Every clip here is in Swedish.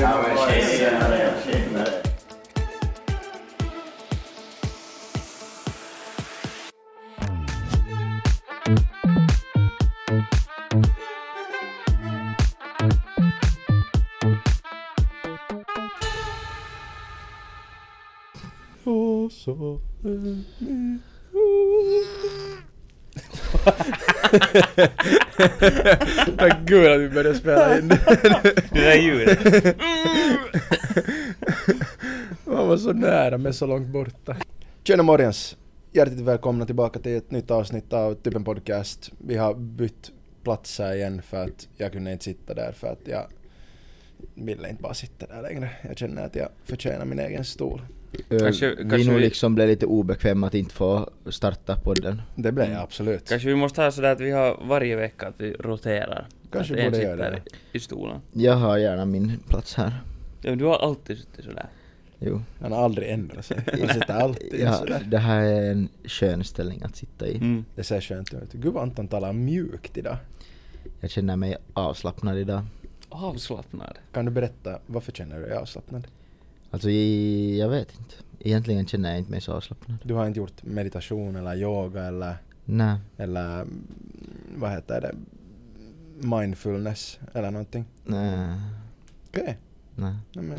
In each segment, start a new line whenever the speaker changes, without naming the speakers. Ja, men tjenare, tjenare.
Och så är ni-
Tack gud att vi började spela in.
Det där ljudet.
Man var så nära men så långt borta. Tjena morgens! Hjärtligt välkomna tillbaka till ett nytt avsnitt av Typen Podcast. Vi har bytt platser igen för att jag kunde inte sitta där för att jag ville inte bara sitta där längre. Jag känner att jag förtjänar min egen stol.
Ö,
Kanske-
Eh, vi
kanske
nog
vi-
liksom blev lite obekväma att inte få starta podden.
Det blev
Mm.
jag absolut.
Kanske vi måste ha sådär att vi har varje vecka att vi roterar.
Kanske
att en
borde göra
sitter
det.
i stolen.
Jag har gärna min plats här.
Ja, men du har alltid suttit sådär.
Jo.
Han har aldrig ändrat sig. Han sitter alltid
Ja,
sådär.
det här är en skön ställning att sitta i.
Mm.
Det ser skönt ut. Gud vad Anton talar mjukt idag.
Jag känner mig avslappnad idag.
Avslappnad.
Kan du berätta, varför känner du dig avslappnad?
Alltså i- jag vet inte. Egentligen känner jag inte mig så avslappnad.
Du har inte gjort meditation eller yoga eller,
Nej.
eller mm, vad heter det, mindfulness eller någonting?
Nej.
Okej.
Nej.
Nej, men,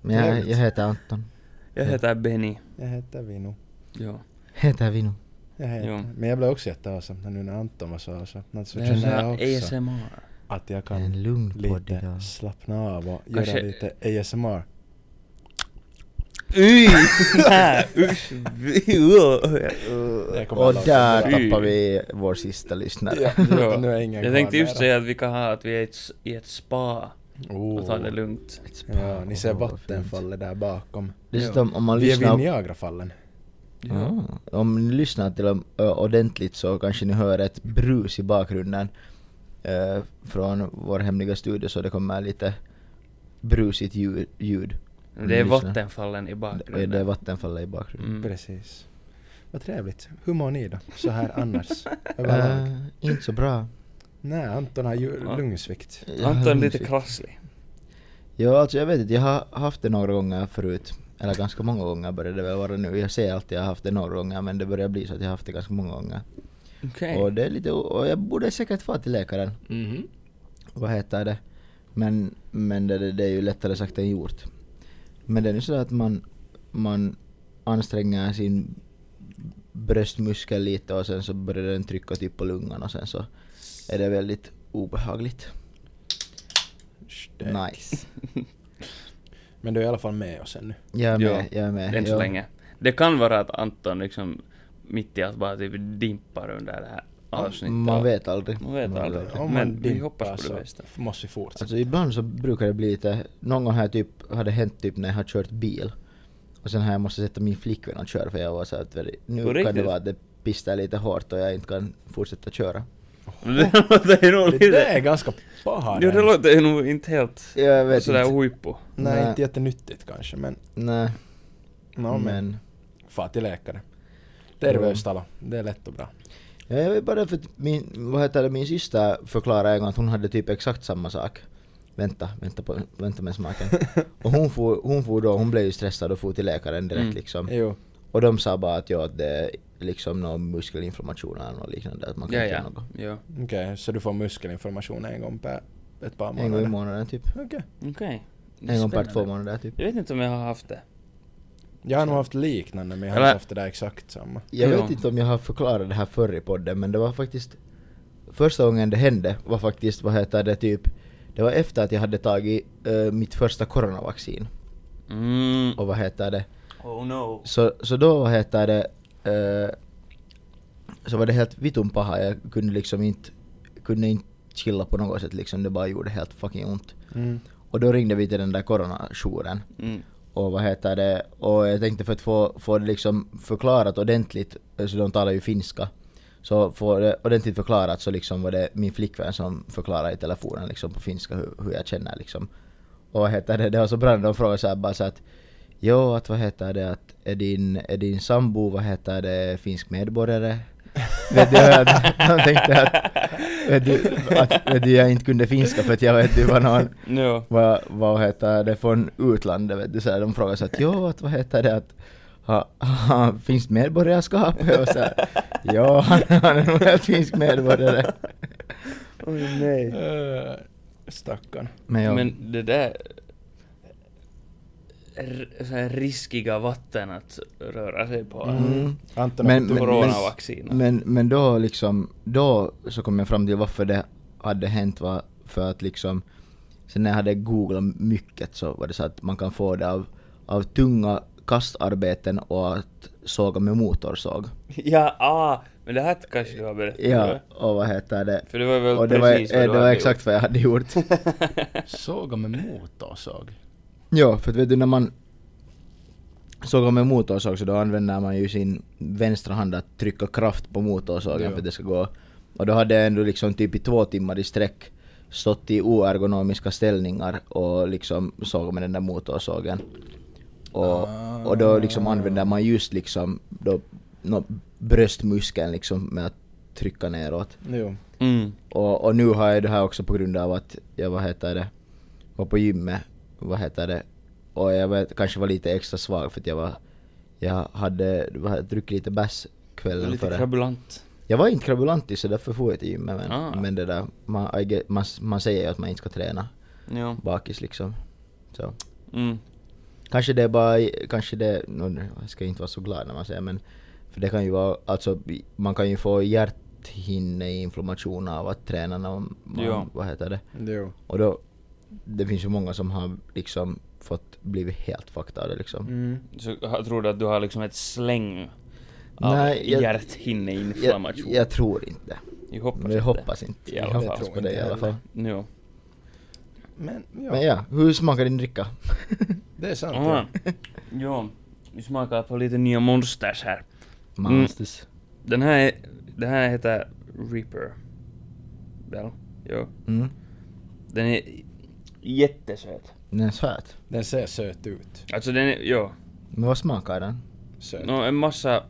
Men jag,
Trevligt.
jag heter Anton.
Jag heter Benny.
jag heter Vino.
Ja.
Heter Vino.
Jag heter.
Jo.
Men jag blev också jätteavslappnad nu när Anton var så avslappnad så
Det här är
känner jag
sån här
också
ASMR.
att jag kan
En lugn podd
lite
idag.
slappna av och
Kanske-
göra lite ASMR.
Uy! Nej, usch!
Jag kommer
Och
att-
där
Fy.
tappar vi vår sista lyssnare.
Ja, nu är ingen
Jag
kvar
tänkte just
där.
säga att vi kan ha att vi är i ett, s- i ett spa och ta det
Oh.
lugnt.
Ja, ni ser
Åh, vad fint.
vattenfallet där bakom.
Dessutom om man
Vi är vid
lyssnar...
Niagarafallen.
Ja.
Ah, om ni lyssnar till dem ö, ordentligt så kanske ni hör ett brus i bakgrunden eh, från vår hemliga studio så det kommer lite brusigt ljud. ljud. Om
Mm, Det är
ni lyssnar.
vattenfallen i
Det,
bakgrunden.
det är vattenfallet i bakgrunden.
Mm.
Precis. Vad trevligt. Hur mår ni då? Så här annars?
Eh,
Överlag?
inte så bra.
Nej, Anton har ju
Ja.
lungsvikt.
Jag har
Anton är lite
lungsvikt.
krasslig.
Ja, alltså jag vet inte. Jag har haft det några gånger förut. Eller ganska många gånger börjar det väl vara nu. Jag säger alltid att jag har haft det några gånger men det börjar bli så att jag har haft det ganska många gånger.
Okej.
Och det är lite... o- Och jag borde säkert få till läkaren.
Mm-hmm.
Mhm.
vad heter det? Men, men det, det, det är ju lättare sagt än gjort. Men det är ju så att man, man anstränger sin bröstmuskel lite och sen så börjar den trycka typ på lungan och sen så är det väldigt obehagligt. Nice.
Men du är i alla fall med oss ännu.
Jag är
Ja,
med, jag är med.
Än så
Ja.
länge. Det kan vara att Anton liksom mitt i allt bara typ dimpar under det här avsnittet.
Man vet aldrig.
Man vet aldrig.
Om man
Men vi
dimpar
hoppas på
så
det bästa.
Måste vi fortsätta.
Alltså ibland så brukar det bli lite, någon gång har jag typ, har det hänt typ när jag har kört bil. Och sen har jag måste sätta min flickvän och köra för jag var så att nu
På
kan det
riktigt?
vara att det pistar lite hårt och jag inte kan fortsätta köra.
Alltså, Det låter ju nog
det där är
lite...
ganska paha.
Jo, det låter ju nog inte helt
Jag vet
sådär
inte.
huippo.
Nej,
Nej.
inte jättenyttigt kanske men...
Nej,
No, men...
men...
Far till läkare.
Mm.
Terveys talo. Det är lätt och bra.
Ja, jag vet bara för att min, vad heter det, min syster förklarade en gång att hon hade typ exakt samma sak. Vänta, vänta, på, vänta med smaken. och hon for, hon for då, hon blev ju stressad och for till läkaren direkt
Mm.
liksom.
Jo.
Och de sa bara att ja, det är liksom någon muskelinflammation eller något liknande, att man kan
Ja,
inte
ja.
göra något.
ja.
Okej, så du får muskelinformation en gång per ett par
En gång i
månader?
månaden typ.
Okej.
Okej.
En gång per två
Spännande.
månader typ.
Jag vet inte om jag har haft det.
Jag har nog haft liknande men jag har
Eller-
inte haft det där exakt samma.
Jag
Ja.
vet inte om jag har förklarat det här förr i podden men det var faktiskt Första gången det hände var faktiskt, vad heter det, typ Det var efter att jag hade tagit eh, mitt första coronavaccin
Mm.
och vad heter det
Oh no.
Så, så då, vad heter det eh, Så var det helt vitun paha, jag kunde liksom inte Kunde inte chilla på något sätt liksom, det bara gjorde helt fucking ont
Mm.
Och då ringde vi till den där coronajouren
Mm.
och vad heter det, och jag tänkte för att få, få det liksom förklarat ordentligt, så de talar ju finska. Så få det ordentligt förklarat så liksom var det min flickvän som förklarade i telefonen liksom på finska hur, hur jag känner liksom. Och vad heter det, det var så bra när de frågade såhär bara så att Jo, att vad heter det att är din, är din sambo, vad heter det, finsk medborgare? Vet du, jag, de tänkte att vet du, att, vet du, jag inte kunde finska för att jag vet du var någon,
Jo.
vad, vad heter det, från utlandet vet du, så här, de frågade så att jo, att, vad heter det att ha, ha, finns medborgarskap? Och så här, ja, han, han är nog helt finsk medborgare.
Oj nej. Stackarn.
Men, jag,
Men det där... r- Så här riskiga vatten att röra sig på.
Mm.
Anton
Men-
men,
Coronavaccin.
Men, men då liksom, då så kom jag fram till varför det hade hänt var för att liksom Sen när jag hade googlat mycket så var det så att man kan få det av, av tunga kastarbeten och att såga med motorsåg.
Ja, ah, men det här kanske du har berättat
Ja,
eller?
och vad heter det?
För det var väl
och det
precis
var,
vad du
eh, Det var
hade
exakt vad jag hade gjort.
Såga med motorsåg.
ja, för att vet du när man sågar med motorsåg så då använder man ju sin vänstra hand att trycka kraft på motorsågen
Ja.
för att det ska gå. Och då hade jag ändå liksom typ i två timmar i sträck stått i oergonomiska ställningar och liksom såg med den där motorsågen. Och, och då liksom använder man just liksom då, nå, bröstmuskeln liksom med att trycka neråt.
Jo.
Mm.
Och, och nu har jag det här också på grund av att jag, vad heter det, var på gymmet, vad heter det, och jag var, kanske var lite extra svag för att jag var, jag hade, vad, heter det, druckit lite bärs
Det var
kvällen
lite
före.
krabulant.
Jag var inte krabulantig så därför får jag till gymmet men,
Ah.
men det där, man, I get, man, man säger ju att man inte ska träna
Ja.
bakis liksom. Så.
Mm.
Kanske det är bara, kanske det, nå, nu ska jag inte vara så glad när man säger men, för det kan ju vara, alltså man kan ju få hjärthinneinflammation av att träna när man,
Ja.
vad heter det?
Jo.
Och då, det finns ju många som har liksom fått blivit helt fucked av det liksom.
Mm.
Så jag tror du att du har liksom ett släng av
Nej, jag- Jag,
hjärthinneinflammation?
jag tror inte.
jag hoppas
Men jag hoppas inte.
I alla
jag
fall.
hoppas på
Jag tror
det i
inte
alla fall.
Jo.
Men ja.
Men ja, hur smakar din dricka?
Det är sant.
Ah.
Ja.
Jo. Vi smakar på lite nya monsters här.
Monsters.
Den här, är, den här heter Reaper. Väl? Jo.
Mm.
Den är jättesöt.
Den är söt.
Den ser söt ut.
Alltså den är, jo.
Men vad smakar den?
Söt.
Nå, en massa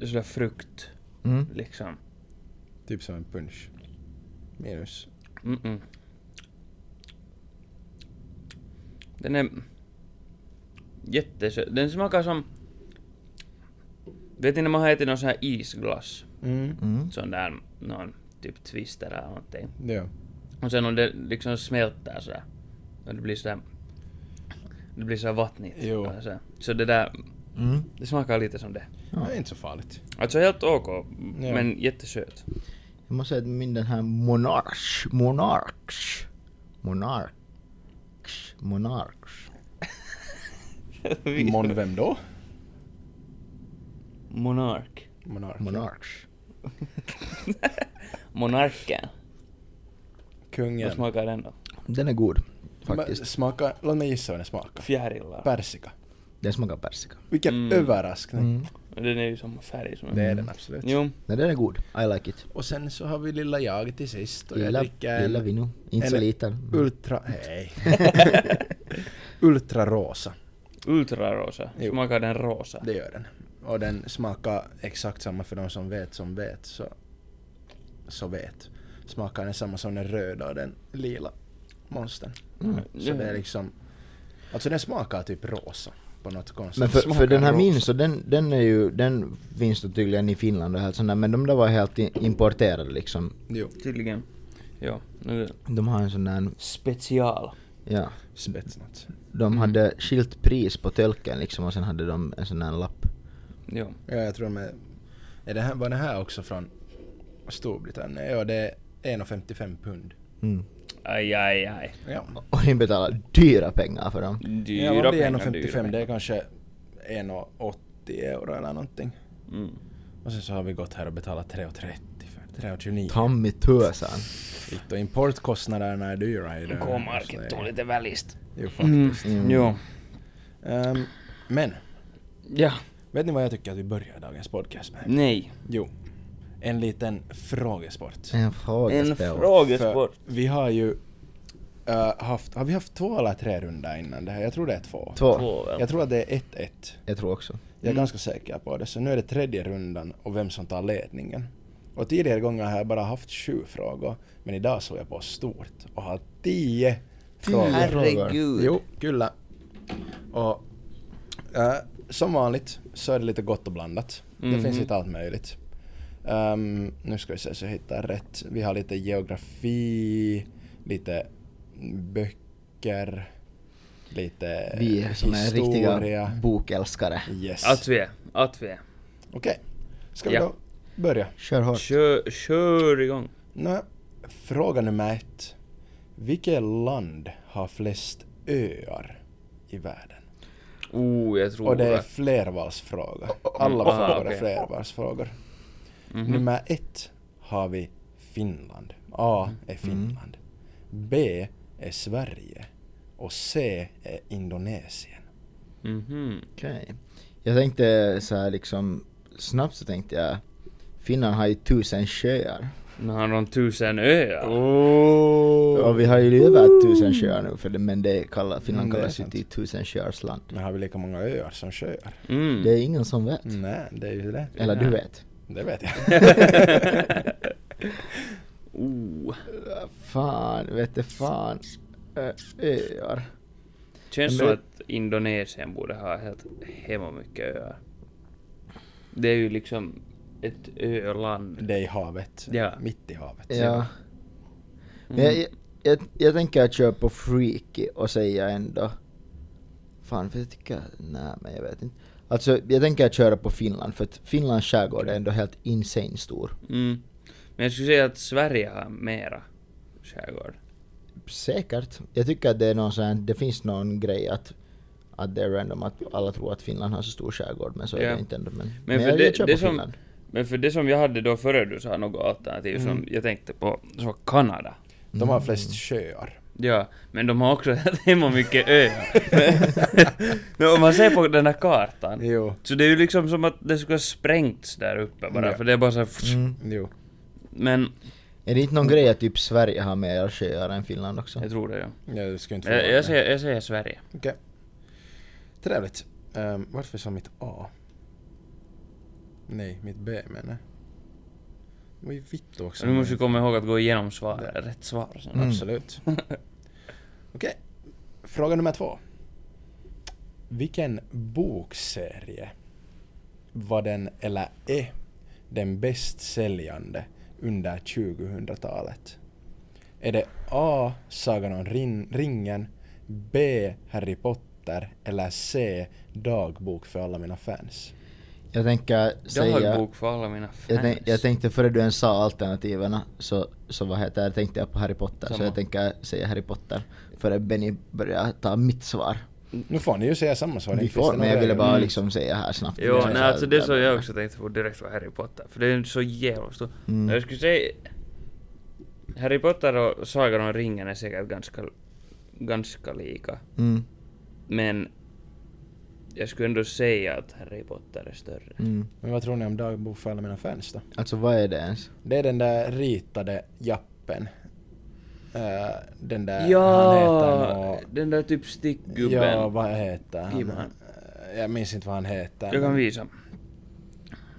sådär frukt,
Mm.
liksom.
Typ som en punch. Minus.
Mm-mm. Den är jättesöt. Den smakar som... Vet ni när man har ätit någon sån här isglass?
Mm.
Mm.
Sån där, någon typ twister eller någonting.
Ja.
Och sen om det liksom smälter sådär. Och det blir sådär... Det blir sådär vattnigt.
Jo.
eller sådär. Så det där,
Mm.
det smakar lite som det.
Ja.
Det är inte så farligt.
Alltså helt OK,
Ja.
men jättesöt.
Jag måste säga att min den här Monarch, Monarch, Monarch, Monarch.
Mon vem då?
Monark.
Monark.
Monarch.
Monarken. Vad
Kungen.
smakar den då?
Den är god,
Ma-
faktiskt.
Smaka, låt mig gissa vad den smakar.
Fjärilar.
Persika.
Den smakar persika.
Vilken
Mm.
överraskning.
Mm.
Men Den är ju samma färg som
Det är den absolut.
Jo.
Nej, den är god. I like it.
Och sen så har vi lilla jag till sist och
Lilla,
jag dricker
lilla
en
Vino. Inte så
en-
liten. Mm.
ultra... Hej. Ultrarosa.
Ultrarosa.
Jo.
Smakar den rosa?
Det gör den. Och den smakar exakt samma för de som vet som vet så... Så vet. Smakar den samma som den röda och den lila monstern.
Mm.
Så det är liksom... Alltså den smakar typ rosa på något konstigt
Men för, för
Smakar
den här
rosa.
min så den, den är ju, den finns då tydligen i Finland och helt sånt där, men de där var helt i- importerade liksom.
Jo,
Tydligen. Ja. nu är det-
De har en sån där,
Special.
ja.
spetsnat.
De hade skilt pris på tölken liksom och sen hade de en sån där lapp.
Jo.
Ja, jag tror de är... är det här, var det här också från Storbritannien? Ja, det är 1,55 pund.
Mm.
Aj, aj, aj.
Ja.
Och de betalade dyra pengar för dem.
Dyra
ja, om det är
pengar,
1,55
dyra
det
pengar.
är kanske 1,80 euro eller någonting.
Mm.
Och sen så har vi gått här och betalat 3,30 för 3,29.
Tommy Tösan.
Fitt, Och importkostnaderna är dyra i det. här.
K-market
Så
tog
det är-
lite välist.
Jo, faktiskt.
Mm.
Jo.
Ehm, men,
Ja.
vet ni vad jag tycker att vi börjar dagens podcast med?
Nej.
Jo, en liten frågesport.
En
En
frågespel.
frågesport.
För vi har ju eh, haft, har vi haft två eller tre runda innan det här? Jag tror det är två.
Två.
väl?
Jag tror att det är 1-1.
Jag tror också.
Jag är ganska säker på det. Så nu är det tredje rundan och vem som tar ledningen. Och tidigare gånger har jag bara haft sju frågor, men idag såg jag på stort och har tio frågor.
Herregud.
Jo, kyllä. Och äh, som vanligt så är det lite gott och blandat. Det
Mm-hmm.
Mhm.
finns lite allt möjligt. Ehm, nu ska vi se så jag hittar rätt. Vi har lite geografi, lite böcker, lite
Vi som är
Eh, historia.
riktiga bokälskare.
Yes.
Att vi är, att vi är.
Okej, ska vi
Ja.
då börja?
Kör hårt.
Kör, kör igång.
Nå, fråga nummer ett. Vilket land har flest öar i världen?
Oh, jag tror
Och det är
det.
flervalsfråga. Alla
Aha,
frågor är
okej. Mhm.
flervalsfrågor. Nummer ett har vi Finland. A
Mm.
är Finland. B är Sverige. Och C är Indonesien.
Mhm.
Okej. Jag tänkte så här liksom, snabbt så tänkte jag, Finland har ju tusen sjöar.
Nu har de tusen öar.
Oh.
Och vi har ju över tusen sjöar nu, för det, men det kallar, Finland
Mm, det är
kallas ju
sant.
till tusen sjöars land.
Men har vi lika många öar som sjöar?
Mm.
Det är ingen som vet.
Nej, det är ju det.
Eller du vet.
Det vet jag.
oh.
Fan, vet du fan. Ö- Öar.
Känns
Men-
som att Indonesien borde ha helt hemma mycket öar. Det är ju liksom ett öland.
Det är i havet.
Ja.
Mitt i havet.
Mm.
Ja. Men jag, jag, jag tänker att köra på freaky och säga ändå... Fan, för jag tycker... Nej, men jag vet inte. Alltså, jag tänker att köra på Finland, för att Finlands skärgård är ändå helt insane stor.
Mm. Men jag skulle säga att Sverige har mera skärgård.
Säkert. Jag tycker att det är någon sån här, det finns någon grej att, att det är random att alla tror att Finland har så stor skärgård, men så är
Ja.
det inte ändå. Men, men,
Men, för
jag,
det,
jag kör
det
på
som,
Finland.
men för det som jag hade då före du sa något alternativ
Mm.
som jag tänkte på, så var Kanada.
De har flest sjöar.
Ja, men de har också hemma mycket öar. Men- men om man ser på den här kartan,
Jo.
så det är ju liksom som att det skulle ha sprängts där uppe bara,
Ja.
för det är bara så här,
Mm.
Jo.
Men,
Är det inte någon grej att typ Sverige har mer sjöar än Finland också?
jag tror det ja.
Ja, det ska inte
Jag,
förvåna mig.
jag, säger, jag säger Sverige.
Okej. Trevligt. Um, varför sa mitt A? Nej, mitt B menar jag. Det var ju vitt också.
Så nu måste vi
men-
komma ihåg att gå igenom svar,
Det.
rätt svar sen.
Mm.
Absolut. Okej. Fråga nummer två. Vilken bokserie var den, eller är, den bäst säljande under 2000-talet? Är det A. Sagan om rin- ringen, B. Harry Potter eller C. Dagbok för alla mina fans?
Jag tänker säga...
Dagbok för alla mina fans.
Jag, tänk, jag tänkte före du ens sa alternativen så, så vad heter det, tänkte jag på Harry Potter. Så
Samma.
jag tänker säga Harry Potter före Benny börjar ta mitt svar.
Nu får ni ju säga samma svar.
Vi
inte Mm. finns
får,
det
men jag
några
ville bara
regler.
liksom säga här snabbt.
Mm. Jo,
Liksom
nej
här-
alltså det som jag också tänkte på direkt var Harry Potter. För det är ju så jävla stor.
Mm.
Jag skulle säga... Harry Potter och Sagan om ringen är säkert ganska, ganska lika.
Mm,
Men... Jag skulle ändå säga att Harry Potter är större.
mm.
Men vad tror ni om Dagbok för alla mina fans då?
Alltså vad är det ens?
Det är den där ritade jappen. Eh, den där, han heter
Ja,
nå...
den där typ stickgubben.
Ja, vad heter han?
Gimman.
Eh, Jag minns inte vad han heter.
Jag kan
men
visa.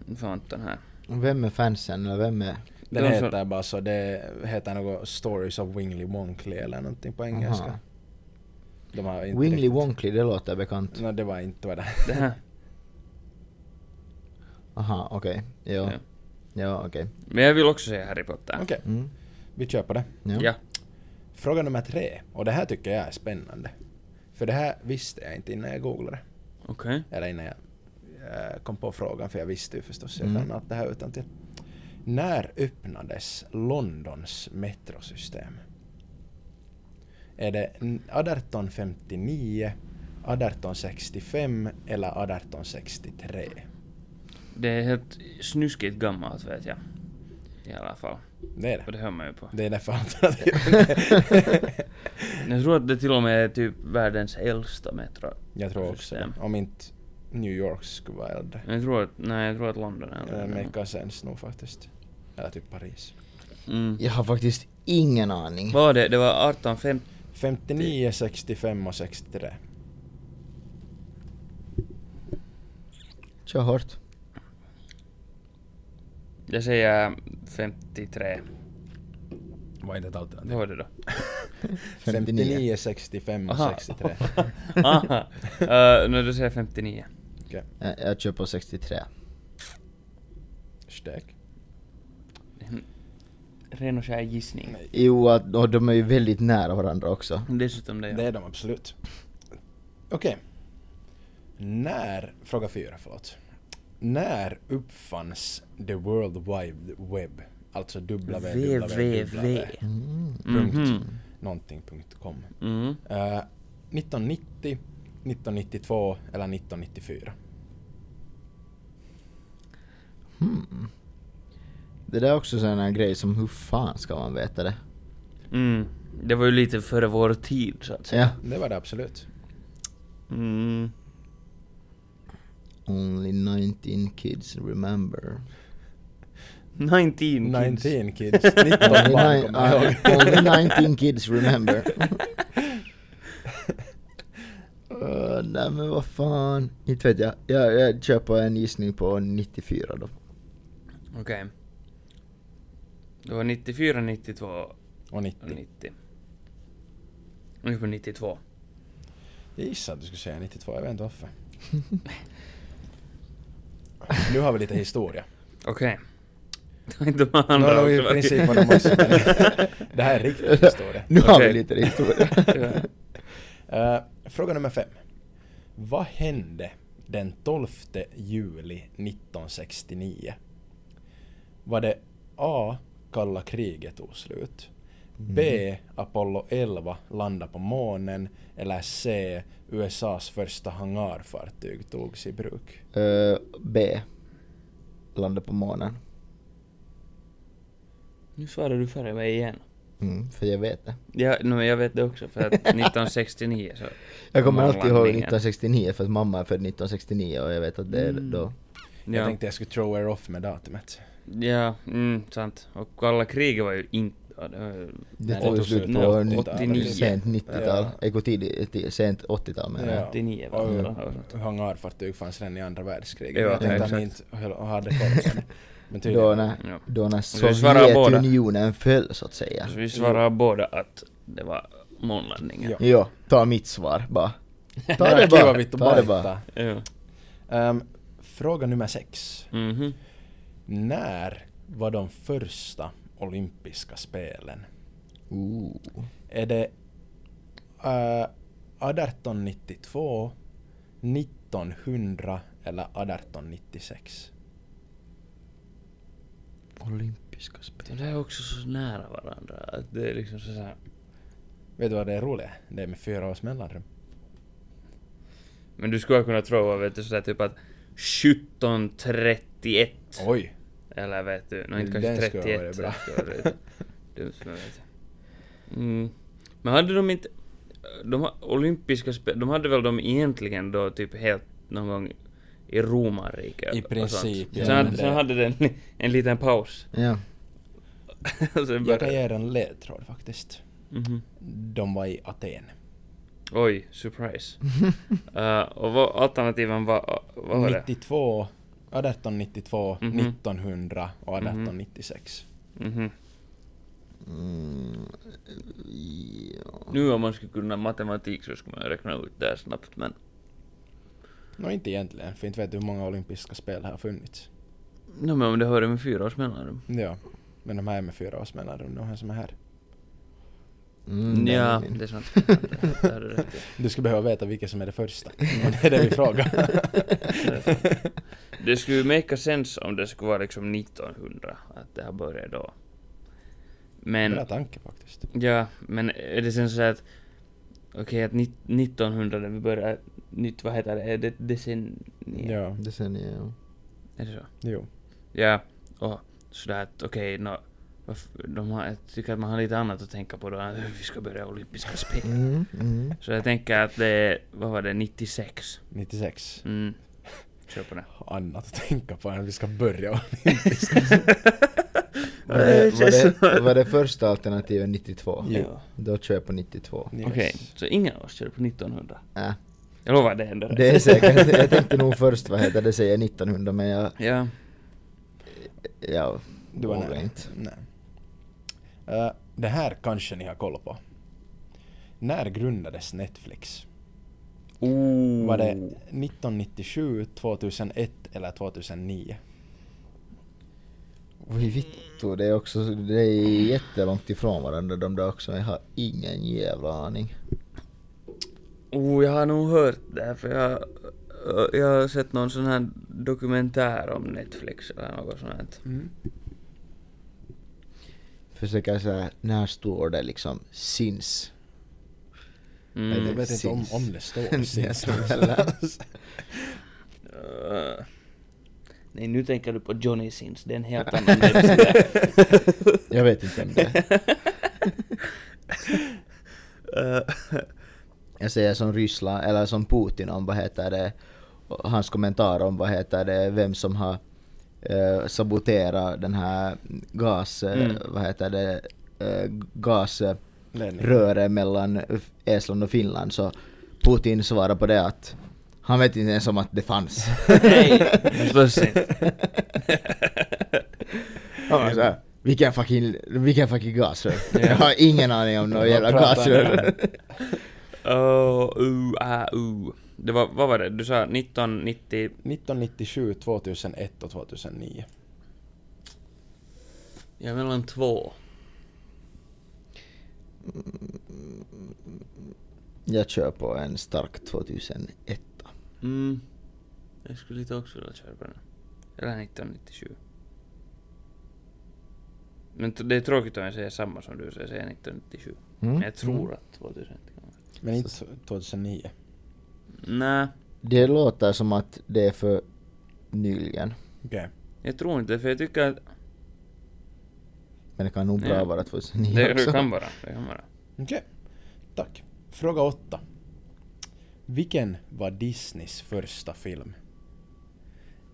Nu får Anton här.
Vem är fansen eller vem är...
Den
De som-
heter bara så, det heter något Stories of Wingley Wonkly eller någonting på engelska.
Aha.
De har inte
Wingley
riktigt- Mm.
Wonkly, det låter bekant.
Nå, det var inte vad det
Det här.
Aha, okej. Ja.
Ja.
Ja, okej.
Men jag vill också säga Harry Potter.
Okej,
Mm.
vi kör på det.
Ja.
Ja.
Fråga nummer tre, och det här tycker jag är spännande. För det här visste jag inte innan jag googlade.
Okej.
Eller innan jag eh, kom på frågan, för jag visste ju förstås, jag
Mm.
kan allt det här utan till. När öppnades Londons metrosystem? Är det n- 1859, 1865 eller 1863?
Det är helt snuskigt gammalt vet jag. I alla fall.
Det är
Och
det.
det hör man ju på.
Det är därför alternativet.
Jag tror att det till och med är typ världens äldsta metro.
Jag tror också det.
System.
Om inte New York skulle vara äldre.
Men Jag tror att, nej jag tror att London är
Det
äldre.
Eh, make sense nog faktiskt. Eller typ Paris.
Mm.
Jag har faktiskt ingen aning.
Vad var det? Det var 1850?
59, 65 och 63.
Kör hårt.
Jag säger 53.
Var inte ett alternativ.
Vad var det då?
59, 65 och 63.
Aha. Uh, no, då säger jag 59.
Okej.
Jag, jag kör på 63.
Stek.
Ren och skär gissning.
Jo, att- och de är ju väldigt nära varandra också.
Dessutom det.
Det är de absolut. Okej. När, fråga fyra förlåt. När uppfanns the World Wide Web? Alltså www.
Mm.
Mhm.
Någonting punkt com.
Mm.
Eh, 1990, 1992 eller 1994?
Hmm. Det där är också sån här grej som hur fan ska man veta det?
Mm. Det var ju lite före vår tid så att säga.
Ja.
Det var det absolut.
Mm.
Only 19 kids remember.
19 kids.
19 kids. 19 barn
Only, ni- ah,
kommer jag ihåg.
only 19 kids remember. Uh, nej men vad fan. Inte vet jag. jag. Jag kör på en gissning på 94 då.
Okej. Det var 94, 92
Och
och
90.
90. Nu är på 92.
Jag gissade att du skulle säga 92, jag vet inte varför. Nu har vi lite historia.
Okej. Det var inte de andra
No, no,
också,
i
va?
princip var det massor, men det här är riktig historia.
Nu har vi
Okej.
lite historia.
Ja.
Eh, fråga nummer fem. Vad hände den 12 juli 1969? Var det A. Kalla kriget tog slut? B. Apollo 11 landade på månen? Eller C. USAs första hangarfartyg togs i bruk?
Eh, B. Landa på månen.
Nu svarar du före mig igen.
Mm, för jag vet det.
Ja, no, men jag vet det också för att 1969 så...
Jag kommer alltid ihåg
Månlandningen.
1969 för att mamma är född 1969 och jag vet att det är
Mm.
då.
Jag
Ja,
tänkte jag skulle throw er off med datumet.
ja mm, sant. Och kalla kriget var ju inte... Ja, det var ju-
Det
Nej,
tog ju
tog
slut
slut
på
89.
89. sent 90-tal.
Ja.
Ja. Eko tidigt, ti- sent 80-tal menar jag.
89 var det, eller något
Och hangarfartyg fanns redan i andra världskriget.
Ja,
jag tänkte att ni inte
exakt.
höll- hade koll på det. Men
Då
tydligen.
när,
Ja.
då när
vi svarar båda.
Sovjetunionen föll så att säga.
Så vi svarar båda att det var månlandningen.
Ja.
Jo, ta mitt svar bara. Ta
Ja,
det
kiva
bara,
vittu
ta det
paittaa.
bara.
Ja.
Ehm, fråga nummer sex.
Mhm.
När var de första olympiska spelen?
Ooh.
Är det eh, 1892, 1900 eller 1896?
Olympiska spel.
De där är också så nära varandra att det är liksom så här.
Vet du vad det är roliga? Det är med fyra års mellanrum.
Men du skulle kunna tro vet du sådär typ att 1731.
Oj!
Eller vet du, no, inte
Den
kanske
skulle ha varit
31.
bra.
så skulle det varit Dumt men vet jag. Mm. Men hade de inte... De ha- olympiska spel, de hade väl de egentligen då typ helt någon gång i romarriket?
I
och sånt.
princip,
ja,
sen,
men
sen
det-
hade den en liten paus.
Ja.
Jag
Och sen
kan
började-
ge er en ledtråd faktiskt.
Mhm.
De var i Aten.
Oj, surprise. Eh, och vad alternativen var, vad var det?
92, 1892,
Mhm.
1900 och 1896.
Mhm.
Mm, ja.
Nu om man skulle kunna matematik så skulle man räkna ut det här snabbt men...
Nå inte egentligen, för inte vet du hur många olympiska spel här har funnits.
No, men om det hörde med fyra års mellanrum.
Ja, men de här är med fyra års mellanrum, de här som är här.
Mm, där är
ja,
min.
det är sant. Det hade du rätt i.
Du skulle behöva veta vilka som är det första. Och det är det vi frågar.
Det skulle ju make sense om det skulle vara liksom 1900, att det här började då. Men,
Bra tanke faktiskt.
ja, men är det sen så här att... Okej, att nitt- 1900 när vi börjar nytt, vad heter det, är det decennium?
Ja,
Decennier, ja.
Är det så?
jo.
Ja, och sådär att okej, nå, varf- de har, jag tycker att man har lite annat att tänka på då, än att vi ska börja olympiska spel.
Mm, mm.
Så jag tänker att det är, vad var det, 96?
96.
Mm. Kör på det.
Annat att tänka på än vi ska börja.
Var det, var, det, var det första alternativet 92?
Jo.
Då kör jag på 92.
Yes.
Okej, så ingen av oss körde på 1900?
Äh,
Jag lovar, det är ändå
det är säkert. Jag tänkte nog först vad heter det, säger 1900 men jag...
Ja.
jag
Du var
vågar
nära.
inte.
Nej. Eh, det här kanske ni har koll på. När grundades Netflix?
Ooh.
Var det 1997, 2001 eller 2009?
Oj vittu, det är också, det är jättelångt ifrån varandra de där också. Jag har ingen jävla aning.
Oh, jag har nog hört det här för jag, jag har sett någon sån här dokumentär om Netflix eller något sånt här.
Försöker såhär, när står det liksom syns?
Mm.
Jag vet inte om,
Sins.
om det står
Nej,
sins.
jag tror heller.
Eh, nej, nu tänker du på Johnny Sins, det är en helt annan websida.
Jag vet inte vem det är.
Eh,
Jag säger som Ryssland, eller som Putin om vad heter det, hans kommentar om vad heter det, vem som har eh, saboterat den här gas, eh,
Mm.
vad heter det, eh, gasröret
Ledning.
mellan F- Estland och Finland så Putin svarar på det att han vet inte ens om att det fanns.
Nej, förstås inte.
Han var såhär, vilken fucking, vilken fucking gasrör?
Ja.
Jag har ingen aning om några
Vad
jävla
pratar ni
gasrör.
om?
Oh, uh, ah, uh. Det var, vad var det? Du sa 1990...
1997, 2001 och 2009.
Ja, mellan två.
Jag kör på en stark 2001.
Mm. Jag skulle lite också vilja köra på den. Eller 1997. Men t- det är tråkigt om jag säger samma som du, så jag säger 1997.
Mm.
Men jag tror
Mm.
att 2001 kan vara.
Men inte 2009.
Nej,
Det låter som att det är för nyligen.
Okej.
jag tror inte för jag tycker att...
Men det kan nog
Ja.
bra vara 2009
Det,
också.
det kan vara, det kan vara.
Okej. Tack. Fråga 8. Vilken var Disneys första film?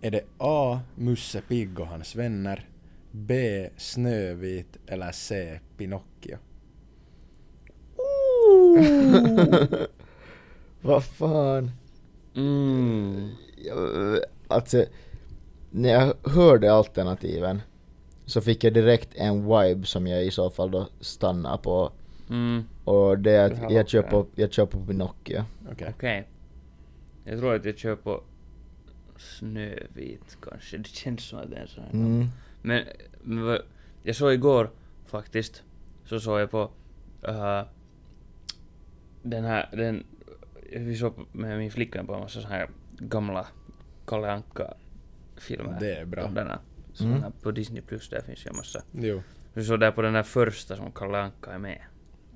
Är det A. Musse Pigg och hans vänner? B. Snövit eller C. Pinocchio?
Vad fan.
Mm.
Jag- Alltså, när jag hörde alternativen så fick jag direkt en vibe som jag i så fall då stannar på.
Mm.
Och det är
Det här
att jag kör
låter-
på, jag kör på Pinocchio.
Okej.
Okej. Jag tror att jag kör på Snövit kanske. Det känns som att det är en sån här.
Mm.
Men, men vad- jag såg igår faktiskt, så såg jag på äh, den här, den, vi såg på- med min flickvän på en massa så här gamla Kalle Anka-filmer.
Det är bra. Mm.
De där, såna här På Disney Plus, där finns ju en massa.
Jo.
Vi såg där på den här första som Kalle Anka är med,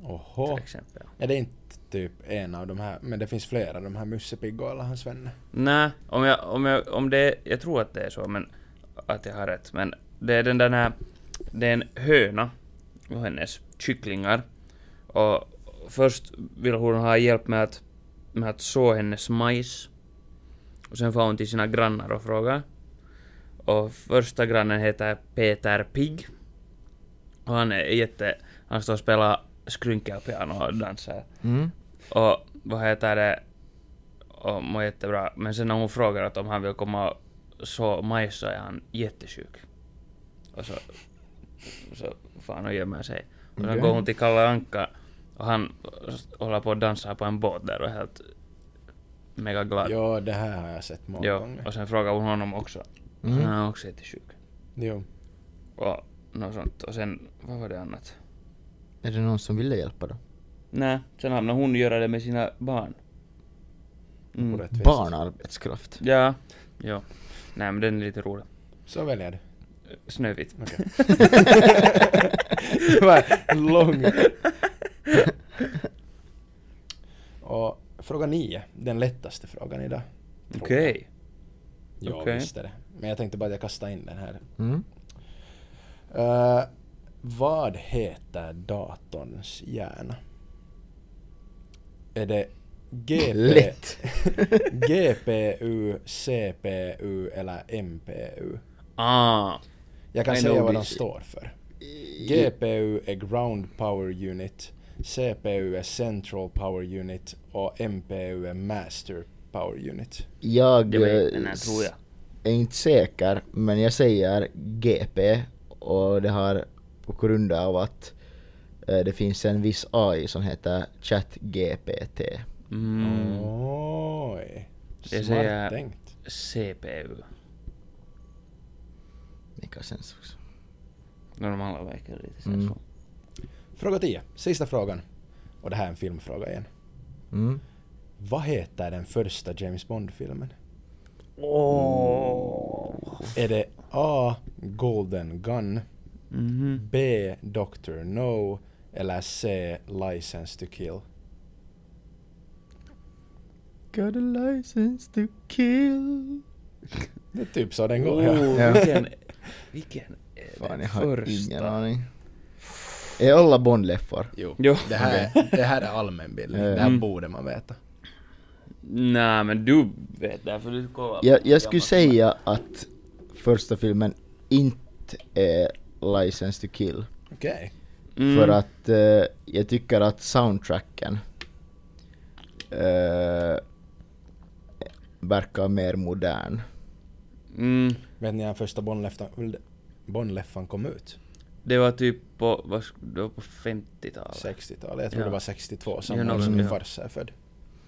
Oho.
till exempel.
Är det inte typ en av de här, men det finns flera, de här Musse Pigg och alla hans vänner?
Nej, om jag, om jag, om det, jag tror att det är så, men att jag har rätt. Men det är den där, här- det är en höna och hennes kycklingar. Och först vill hon ha hjälp med att, med att så hennes majs. Och sen får hon till sina grannar och frågar. Och första grannen heter Peter Pig. Och han är jätte, han står och spelar skrynkelpiano och dansar.
Mm.
Och vad heter det? Och mår jättebra. Men sen när hon frågar att om han vill komma och så majsa är han jättesjuk. Och så... Så fan och gömmer sig. Och sen
Okej.
går hon till Kalle Anka och han håller på och dansar på en båt där och är helt mega glad.
Jo, det här har jag sett många
Jo,
gånger.
och sen frågar hon honom också.
Mm.
Han är också jättesjuk.
Jo.
Och något sånt. Och sen, vad var det annat?
Är det någon som ville hjälpa då?
Nej, sen hamnar hon göra det med sina barn. Mm.
Orättvist.
Barnarbetskraft.
Ja, ja. Nej men den är lite rolig.
Så väljer du.
Snövit.
Okej. Det var lång. Och fråga 9, den lättaste frågan idag. tror jag.
Okej.
Ja,
okej.
visst är det. Men jag tänkte bara att jag kastar in den här.
Mm.
Eh, vad heter datorns hjärna? Är det GP,
Lätt.
GPU, CPU eller MPU?
Ah.
Jag kan
I
säga
know
vad de
this.
står för. GPU är Ground Power Unit, CPU är Central Power Unit och MPU är Master Power Unit.
Jag...
Det var
eh,
den här tror jag.
är inte säker, men jag säger GP och det har på grund av att eh, det finns en viss AI som heter ChatGPT.
Mm.
Oh, Oj.
Det
Smart
säger-
tänkt.
CPU.
Vilka sens också.
Normala verkar lite så.
Mm.
Fråga 10. Sista frågan. Och det här är en filmfråga igen.
Mm.
Vad heter den första James Bond-filmen?
Åh!
Är det A. Golden Gun, Mm-hmm.
Mhm.
B. Doctor No eller C. License to kill?
Got a license to kill.
Det är typ så den går.
Oh,
Ja.
Ja.
vilken... Vilken är
Fan,
den
jag har
första?
ingen aning. Är alla Bond-leffar?
Jo.
Jo.
Det, här, det här är allmänbildning. Det här
Mm.
borde man veta.
Nej men du vet därför du kollar. på
Jag, jag skulle
gammalt.
säga att första filmen inte är License to kill.
Okej.
Mm.
För att eh, jag tycker att soundtracken eh, verkar mer modern.
Mm.
Vet ni när första Bond-leffan- Bond-leffan kom ut?
Det var typ på, vad, sk- det var på 50-talet.
60-talet. Jag tror
Ja.
det var 62,
Ja,
samma år
någon-
som min
ja.
farsa är född.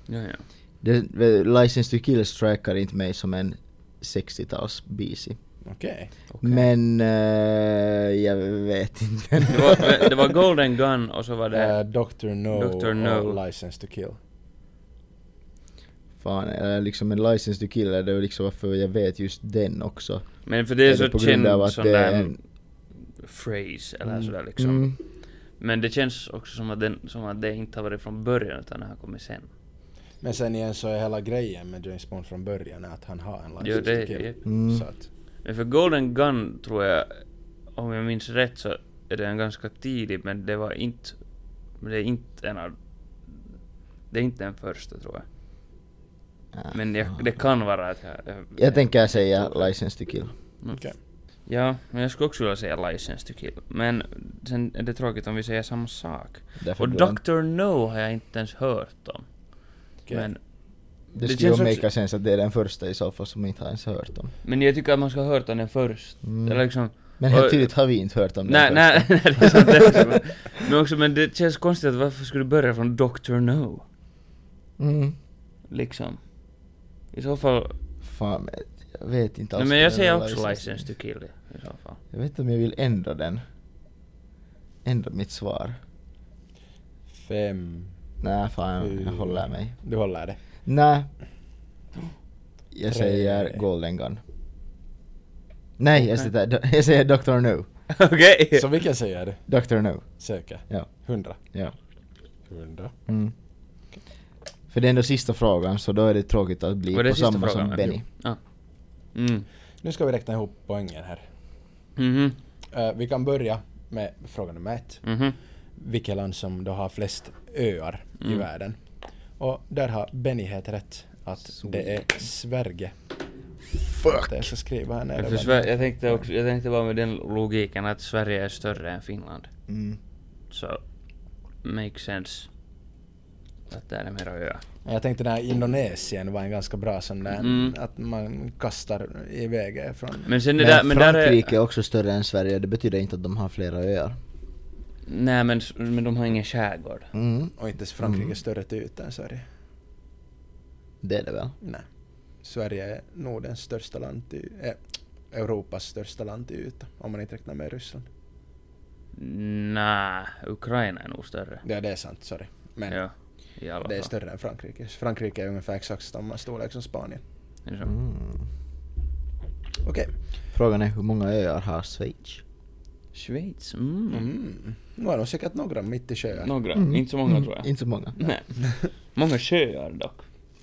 Ja, ja.
Det, eh, License to kill strikar inte mig som en 60-tals BC.
Okej.
Okej.
Men eh, jag vet inte.
Det var, det var Golden Gun och så var det...
Eh, Dr. No
Dr. No.
och License to kill.
Fan, eller liksom en License to kill, det är liksom varför jag vet just den också.
Men för det är,
Är det på
så
grund av
känd
att
sån
det
där
är en-
phrase eller
Mm.
sådär liksom.
Mm.
Men det känns också som att, den, som att det inte har varit från början utan det har kommit sen.
Men sen igen så är hela grejen med James Bond från början är att han har en license
Jo, det-
to kill.
Mm.
Så att,
Men för Golden Gun tror jag, om jag minns rätt så är den ganska tidig men det var inte... men Det är inte en av... Det är inte den första tror jag.
Ah,
Men jag,
fan.
det kan vara att jag... Jag,
Jag tänker säga License to kill.
Mm.
okej.
Ja, men jag skulle också vilja säga License to kill. Men sen är det tråkigt om vi säger samma sak.
Därför
Och
du har-
Dr. No har jag inte ens hört om.
Okej.
Men,
Det
det
skulle ju
känns
make
också-
sense att det är den första i så fall som inte har ens hört om.
men jag tycker att man ska ha hört om den först.
Mm.
Eller liksom...
Men helt
och-
tydligt har vi inte hört om den
Nej, nej,
första.
nej, det är sant. Det är sant. men, också, men det känns konstigt att varför skulle du börja från Dr. No?
Mm.
Liksom. I så fall...
Fan, men jag vet inte
Nej,
alls.
men
om
jag säger
vill
också License to
kill.
kill i så fall.
Jag vet inte om jag vill ändra den. Ändra mitt svar.
Fem.
Nej, fan,
fyra.
jag håller mig.
Du håller det.
Nej. Jag
Tre.
säger Golden Gun. Nej, jag säger, jag säger Dr. No.
Okej!
Så vilken säger du?
Dr. No.
Säker?
Ja.
Hundra?
Ja.
Hundra.
Mm. För det är ändå sista frågan, så då är det tråkigt att bli
Var det
på
sista
samma
frågan?
som Benny.
Ah. Mm.
Nu ska vi räkna ihop poängen här.
Mhm.
Eh, vi kan börja med fråga nummer ett.
Mhm.
Vilket land som då har flest öar i
Mm.
världen? Och där har Benny helt rätt. Att det är Sverige. Fuck! Jag ska skriva här nere.
Men för Sver- jag, tänkte också, jag tänkte bara med den logiken att Sverige är större än Finland.
Mm.
Så, makes sense. Att det är mera öar.
Jag tänkte den här Indonesien var en ganska bra sån där
Mm.
att man kastar iväg från...
Men sen det
Men,
där, men där
Frankrike är
är...
också större än Sverige, det betyder inte att de har flera öar.
Nej men, s- men de har ingen skärgård.
Mm.
Och inte ens Frankrike större till ytan än Sverige.
Det är det väl?
Nej. Sverige är Nordens största land till, eh, Europas största land till yta. Om man inte räknar med Ryssland.
Nej, Ukraina är nog större.
Ja, det är sant, sorry. Men
Ja, i alla
det är
fall.
större än Frankrike. Frankrike är ungefär exakt samma storlek som Spanien.
Det är så.
Mm.
Okej.
Frågan är hur många öar har Schweiz?
Schweiz? Mm.
Mm. Nu är nog säkert några mitt i sjöar.
Några, inte så många tror jag.
Mm. Inte så många.
Nej. många sjöar dock.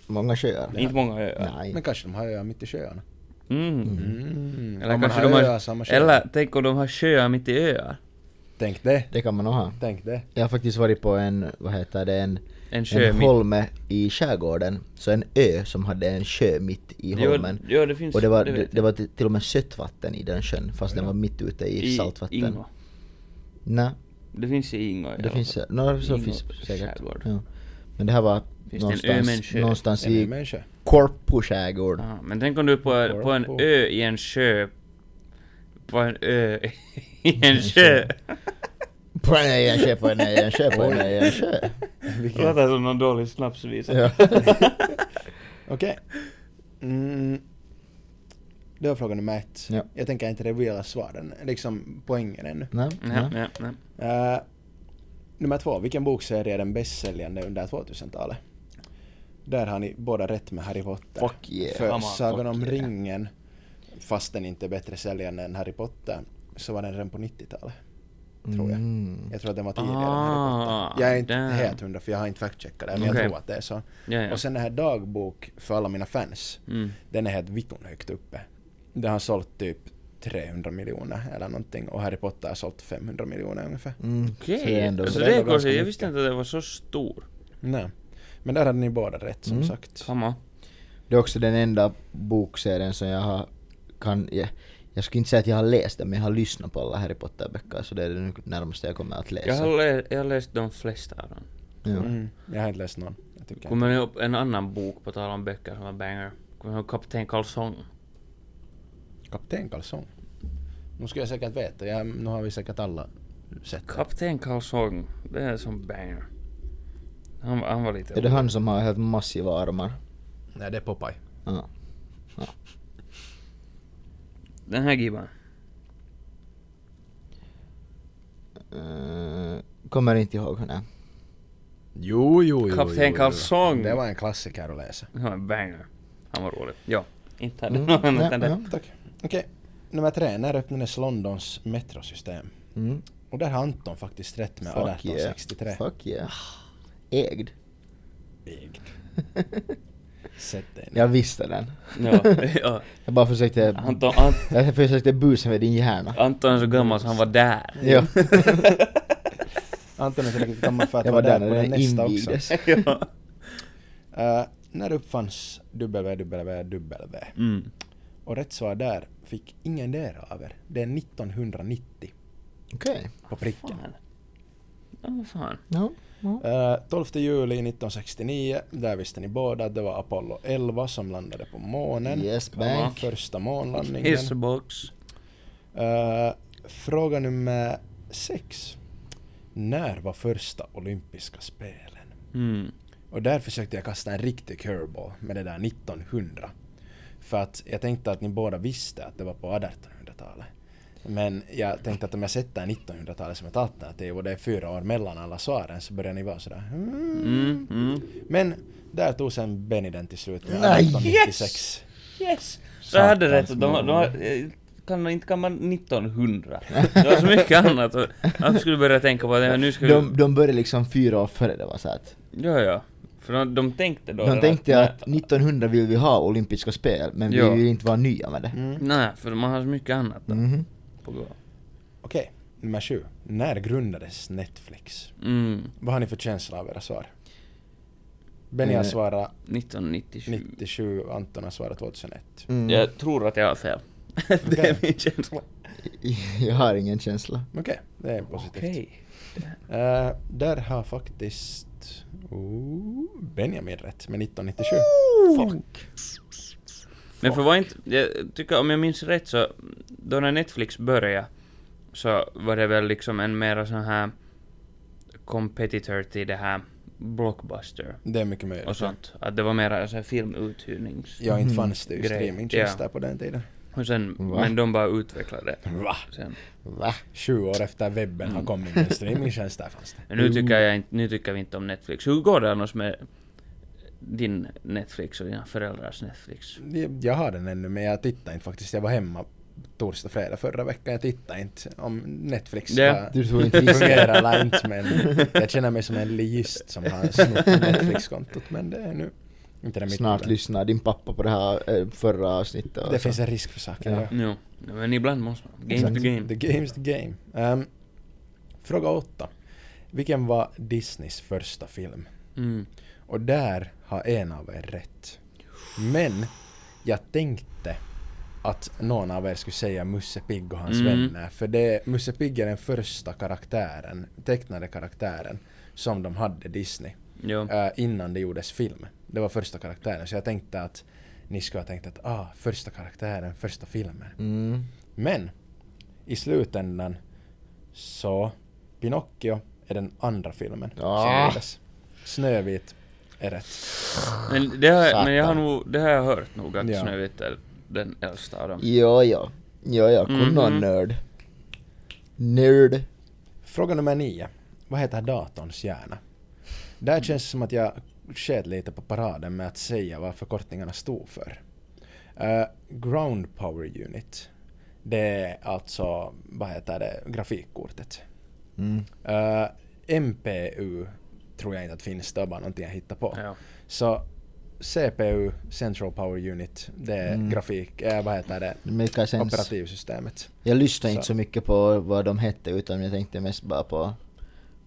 Många sjöar?
Inte många öar.
Nej.
Men kanske de har öar mitt i sjöarna.
Mm.
Mm.
Eller
Om man
kanske de har...
öar, samma sjöar.
eller tänk om de har sjöar mitt i öar.
Tänk det.
Det kan man nog ha.
Tänk det.
Jag har faktiskt varit på en, vad heter det, en,
En sjö
en
mitt
holme i skärgården. Så en ö som hade en sjö mitt i
Jo,
holmen.
jo, det finns-
och det var,
det
det,
vet
det,
jag.
var till, till och med sötvatten i den sjön, fast den var mitt ute i, saltvatten.
Ingå.
Nej,
Det finns i Ingå i
det
alla
finns,
fall.
no, så
Ingå
finns säkert. Mm.
skärgård.
Ja. Men det här var
Finns det en ö-människa?
någonstans, någonstans
En ny
i
människa.
Korpuskärgård.
Aha, men tänk om du är på, på en ö i en sjö. På en ö i
Mm.
en sjö.
På en egen sjö, på en egen sjö, på en egen sjö.
Det låter som någon dålig snapsvisa.
Ja.
Okej. Mm. Det var frågan nummer ett.
Ja.
Jag tänker inte reveala svaren, liksom poängen ännu.
Nej,
Nej,
nej.
nej, nej.
Eh, nummer två, vilken bokserie är den bästsäljande under 2000-talet? Där har ni båda rätt med Harry Potter.
Fuck yeah.
För
Hamma,
Sagan om
fuck yeah.
ringen, fast den inte är bättre säljande än Harry Potter, så var den redan på 90-talet. Tror jag.
Mm.
Jag tror att den var tidigare än Harry
Ah,
Potter. Jag är inte
damn.
helt hundra för jag har inte fact-checkat det, men
Okej.
jag tror att det är så.
Ja, ja.
Och sen den här dagbok för alla mina fans,
Mm.
den är helt vitton högt uppe. Den har sålt typ 300 miljoner eller någonting och Harry Potter har sålt 500 miljoner ungefär.
Mm.
Okej,
Så det är ändå...
alltså
det är
det är
ändå
kanske,
ganska
jag visste inte att det var så stor.
Nej. Men där hade ni båda rätt som
Mm.
sagt.
Samma.
Det är också den enda bokserien som jag har, kan, jag, jag skulle inte säga att jag har läst den men jag har lyssnat på alla Harry Potter-böcker så det är det närmaste jag kommer att läsa.
Jag har, lä- jag har läst de flesta av dem.
ja.
Mm. Jag har inte läst någon. Jag tycker inte.
Kommer ni upp en annan bok på tal om böcker som var banger? Kommer ni ihåg Kapten Karlsson?
Kapten Karlsson. Nu skulle jag säkert veta, ja, nu har vi säkert alla sett den.
Kapten Karlsson, det är som banger. Han, han var lite...
Är det han som har helt massiva armar?
Nej, det är Popeye.
Ja.
Den här gibban.
Eh, kommer inte ihåg hur den är.
Jo, jo, jo. jo,
Kapten
jo.
Karlsson.
Det var en klassiker att läsa.
Han var en banger. Han var rolig. Ja. Inte hade
Mm,
någon annat
ja,
än det.
ja.
Tack. Okej. Nummer tre. När öppnades Londons metrosystem?
Mm.
Och där har Anton faktiskt rätt med
Fuck yeah.
1863.
Fuck yeah. Ägd.
Ägd. Sätt dig ner.
Jag visste den.
Ja, ja.
Jag bara försökte...
Anton, Ant,
Jag försökte busa med din hjärna.
Anton är så gammal så han var där.
Ja.
Anton är tillräckligt gammal för att
Jag
vara
var
där
där
på
när
den
den
nästa också.
invigdes.
ja.
Eh, när uppfanns www?
Mm.
Och rätt svar där fick ingen där av er. Det är 1990
Okej.
på pricken.
Fan. Ja, vad fan.
Ja. ja.
Eh, 12 juli 1969, där visste ni båda att det var Apollo 11 som landade på månen.
Yes,
Den
bank.
Första månlandningen.
Hissebox.
Eh, fråga nummer sex. När var första olympiska spelen?
Mm.
Och där försökte jag kasta en riktig curveball med det där 1900. För att jag tänkte att ni båda visste att det var på 1800-talet. Men jag tänkte att om jag sätter 1900-talet som ett alternativ och det är fyra år mellan alla svaren så börjar ni vara sådär mm.
Mm. Mm.
Men där tog sen Benny den till slut med
Nej,
1896.
Yes! Så jag hade rätt.
Satans
De, de, de, kan, inte kan man 1900. Det var så mycket annat. och Jag skulle börja tänka på det. här, Nu ska vi...
De, de började liksom fyra år före det var så att
Ja, ja. För de, de tänkte då...
De
redan
tänkte att 1900 vill vi ha olympiska spel, men vi
Ja.
vill inte vara nya med det.
Mm.
Nej, för man har så mycket annat då.
Mhm.
på gång.
Okej, nummer sju. När grundades Netflix?
Mm.
Vad har ni för känsla av era svar? Benny har
Eh,
svarat
1997.
97, Anton har svarat 2001.
Mm.
Jag tror att jag har fel. det är
Okej.
min känsla.
Jag har ingen känsla.
Okej, det är positivt.
Okej.
Eh, där har faktiskt oh, Benjamin rätt med 1997.
Fuck. Men för var inte, jag tycker om jag minns rätt så, då när Netflix började så var det väl liksom en mera sån här competitor till det här Blockbuster
Det är mycket möjligt.
och sånt. Att det var mera så här filmuthyrnings...
Ja, inte fanns det ju
Grej.
streamingtjänster på den tiden.
Och sen,
Va?
men de bara utvecklade det
Va?
sen.
Va?
Sju år efter webben
Mm.
har kommit med streamingtjänster fanns det.
Men nu tycker jag inte, nu tycker vi inte om Netflix. Hur går det annars med din Netflix och dina föräldrars Netflix?
Jag- Jag har den ännu men jag tittar inte faktiskt. Jag var hemma torsdag, fredag förra veckan. Jag tittar inte om Netflix
Ja.
ska
Du tog inte risken.
fungera eller inte. Men jag känner mig som en ligist som har snott Netflix-kontot. Men det är nu inte det mitt
Snart
problem.
lyssnar din pappa på det här eh, förra avsnittet alltså. och
Det
så.
finns en risk för saker.
Ja.
ja.
Jo, men ibland måste man. Game
Exakt.
to Mm, game.
The game's the game. Ehm, fråga åtta. Vilken var Disneys första film?
Mm.
Och där har en av er rätt. Men jag tänkte att någon av er skulle säga Musse Pigg och hans
Mm.
vänner. För det, Musse Pigg är den första karaktären, tecknade karaktären, som de hade Disney.
Jo.
eh, innan det gjordes film. Det var första karaktären, så jag tänkte att ni skulle ha tänkt att ah, första karaktären, första filmen.
Mm.
Men i slutändan så Pinocchio är den andra filmen. som
Ah.
gjordes. Snövit är rätt.
Men, det har, men jag har
Satan.
nog, det har jag hört nog att
Ja.
Snövit är den äldsta av dem.
Jo, jo. Jo, jo. Kunna
Mhm.
nörd. Nörd.
Fråga nummer nio. Vad heter datorns hjärna? Där känns det som att jag sket lite på paraden med att säga vad förkortningarna stod för. Eh, ground Power Unit. Det är alltså, vad heter det, grafikkortet.
Mm.
Eh, MPU tror jag inte att finns, det var bara någonting jag hittade på.
Ja.
Så CPU, Central Power Unit, det är
Mm.
grafik, eh, vad heter det,
Make sense.
operativsystemet.
Jag lyssnade
Så.
inte så mycket på vad de hette utan jag tänkte mest bara på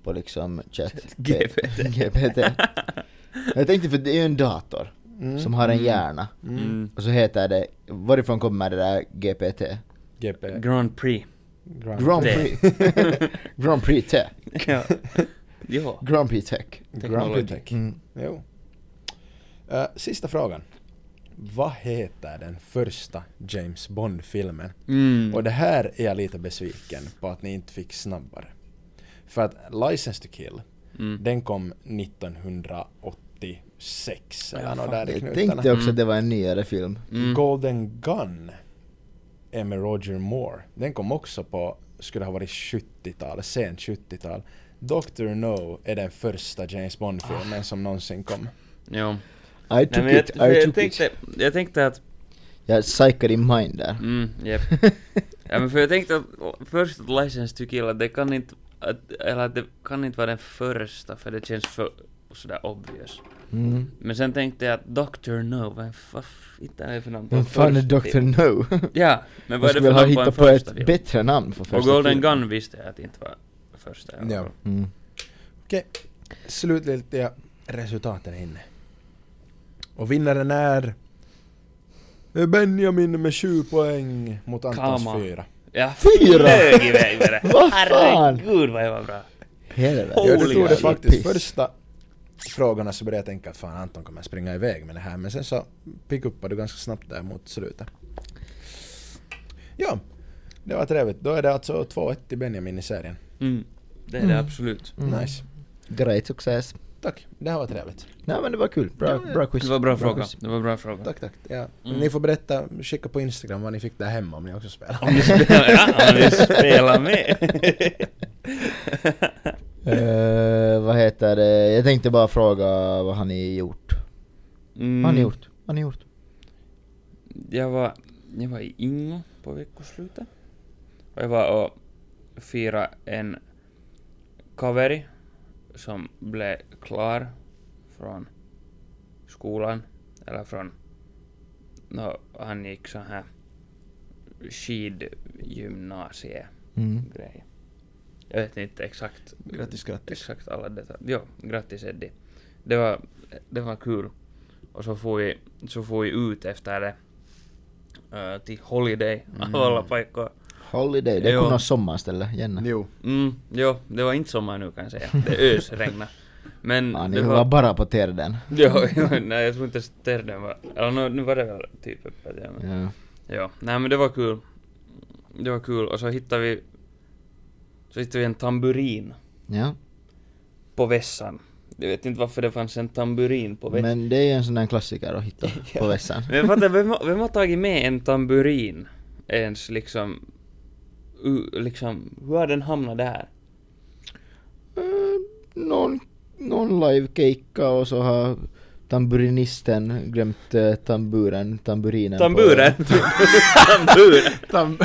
på liksom chat
GPT.
GPT. Jag tänkte för det är ju en dator
Mm.
som har en
Mm.
hjärna
Mm.
Mm.
och så heter det, varifrån kommer det där GPT?
GP,
Grand Prix.
Grand,
Grand
T.
Prix Grand Prix Tech
ja. Jo.
Grand Prix Tech
Grand
Technology.
Prix Tech. Jo. Eh, sista frågan. Vad heter den första James Bond-filmen?
Mm.
Och det här är jag lite besviken på att ni inte fick snabbare. För att License to Kill,
Mm.
den kom 1986 eller
Ja,
något
fan,
där i
Jag
knutarna.
tänkte också
Mm.
att det var en nyare film
Mm.
Golden Gun är med Roger Moore. Den kom också på, skulle ha varit 70-tal, sent 70-tal. Dr. No är den första James
Ah.
Bond-filmen som någonsin kom.
Jo.
I
Nej,
took
men jag,
it,
för
I
jag,
took
tänkte,
it
jag tänkte att...
Jag psykade din mind där
Mm, jep. ja, men för jag tänkte att först att License to Kill, att det kan inte... Att, eller att det kan inte vara den första, för det känns för sådär obvious.
Mm.
Men sen tänkte jag att Dr. No, vem vad f- inte är det för namn på
Vem
en
fan är
första
Dr.
film?
No?
Ja, men vad
Jag
är det
skulle
för
ha
namn på en
hittat på
första
ett
film?
bättre namn för första
Och Golden
filmen.
Gun visste jag att det inte var första. jag
Ja.
var.
Mm.
Okej, slutgiltiga resultaten är inne. Och vinnaren är Benjamin med 7 poäng mot Antons
Kama.
4.
Ja,
Fyra!
flög iväg med det.
Vad fan?
Herregud vad jag var bra.
Helvete.
Jag
Holy
förstod det
shit.
faktiskt första frågorna så började jag tänka att fan Anton kommer springa iväg med det här men sen så pickuppade du ganska snabbt där mot slutet. Ja, det var trevligt. Då är det alltså 2-1 till Benjamin i serien.
Mm. Det är det absolut.
Mm.
Nice.
Great success.
Tack, det här var trevligt.
Nej men det var kul. Bra,
Ja,
bra quiz.
Det var bra fråga.
quiz.
Det var bra fråga.
Tack, tack. Ja.
Mm.
Ni får berätta, skicka på Instagram vad ni fick där hemma om ni också spelar.
Om ni spelar, ja, om ni spelar med.
Eh, vad heter det? Jag tänkte bara fråga vad har ni gjort?
Mm.
Vad har ni gjort? Vad har ni gjort?
Jag var, jag var i Ingo på veckoslutet. Och jag var och firade en kaveri som blev klar från skolan, eller från... No, han gick så här skidgymnasie
Mm.
grej. Jag vet inte exakt.
Grattis, grattis.
Exakt alla detaljer. Jo, grattis Eddie. Det var, det var kul. Och så får vi, så får vi ut efter det. eh, till Holiday
Mm.
av alla paikkoja.
Holiday, det är
Jo.
kunna sommarställe, Jenna.
Jo.
Mm, jo, det var inte sommar nu kan jag säga. Det ösregnade. Men
Ja, ni
det
var bara på Terden.
Jo, jo, nej jag tror inte ens Terden var... Eller nå, nu var det väl typ öppet. Ja, men.
Ja.
Ja, nej men det var kul. Det var kul och så hittade vi... Så hittade vi en tamburin
ja.
på vässan. Jag vet inte varför det fanns en tamburin på vässan.
Men det är ju en sån där klassiker att hitta på vässan.
Men jag fattar, vem, har- vem har tagit med en tamburin ens liksom... u- liksom, hur har den hamnat där?
Eh, någon, någon live-kejka och så har tamburinisten glömt eh, tamburen, tamburinen på-
Tamburen! Tamburen!
Tam-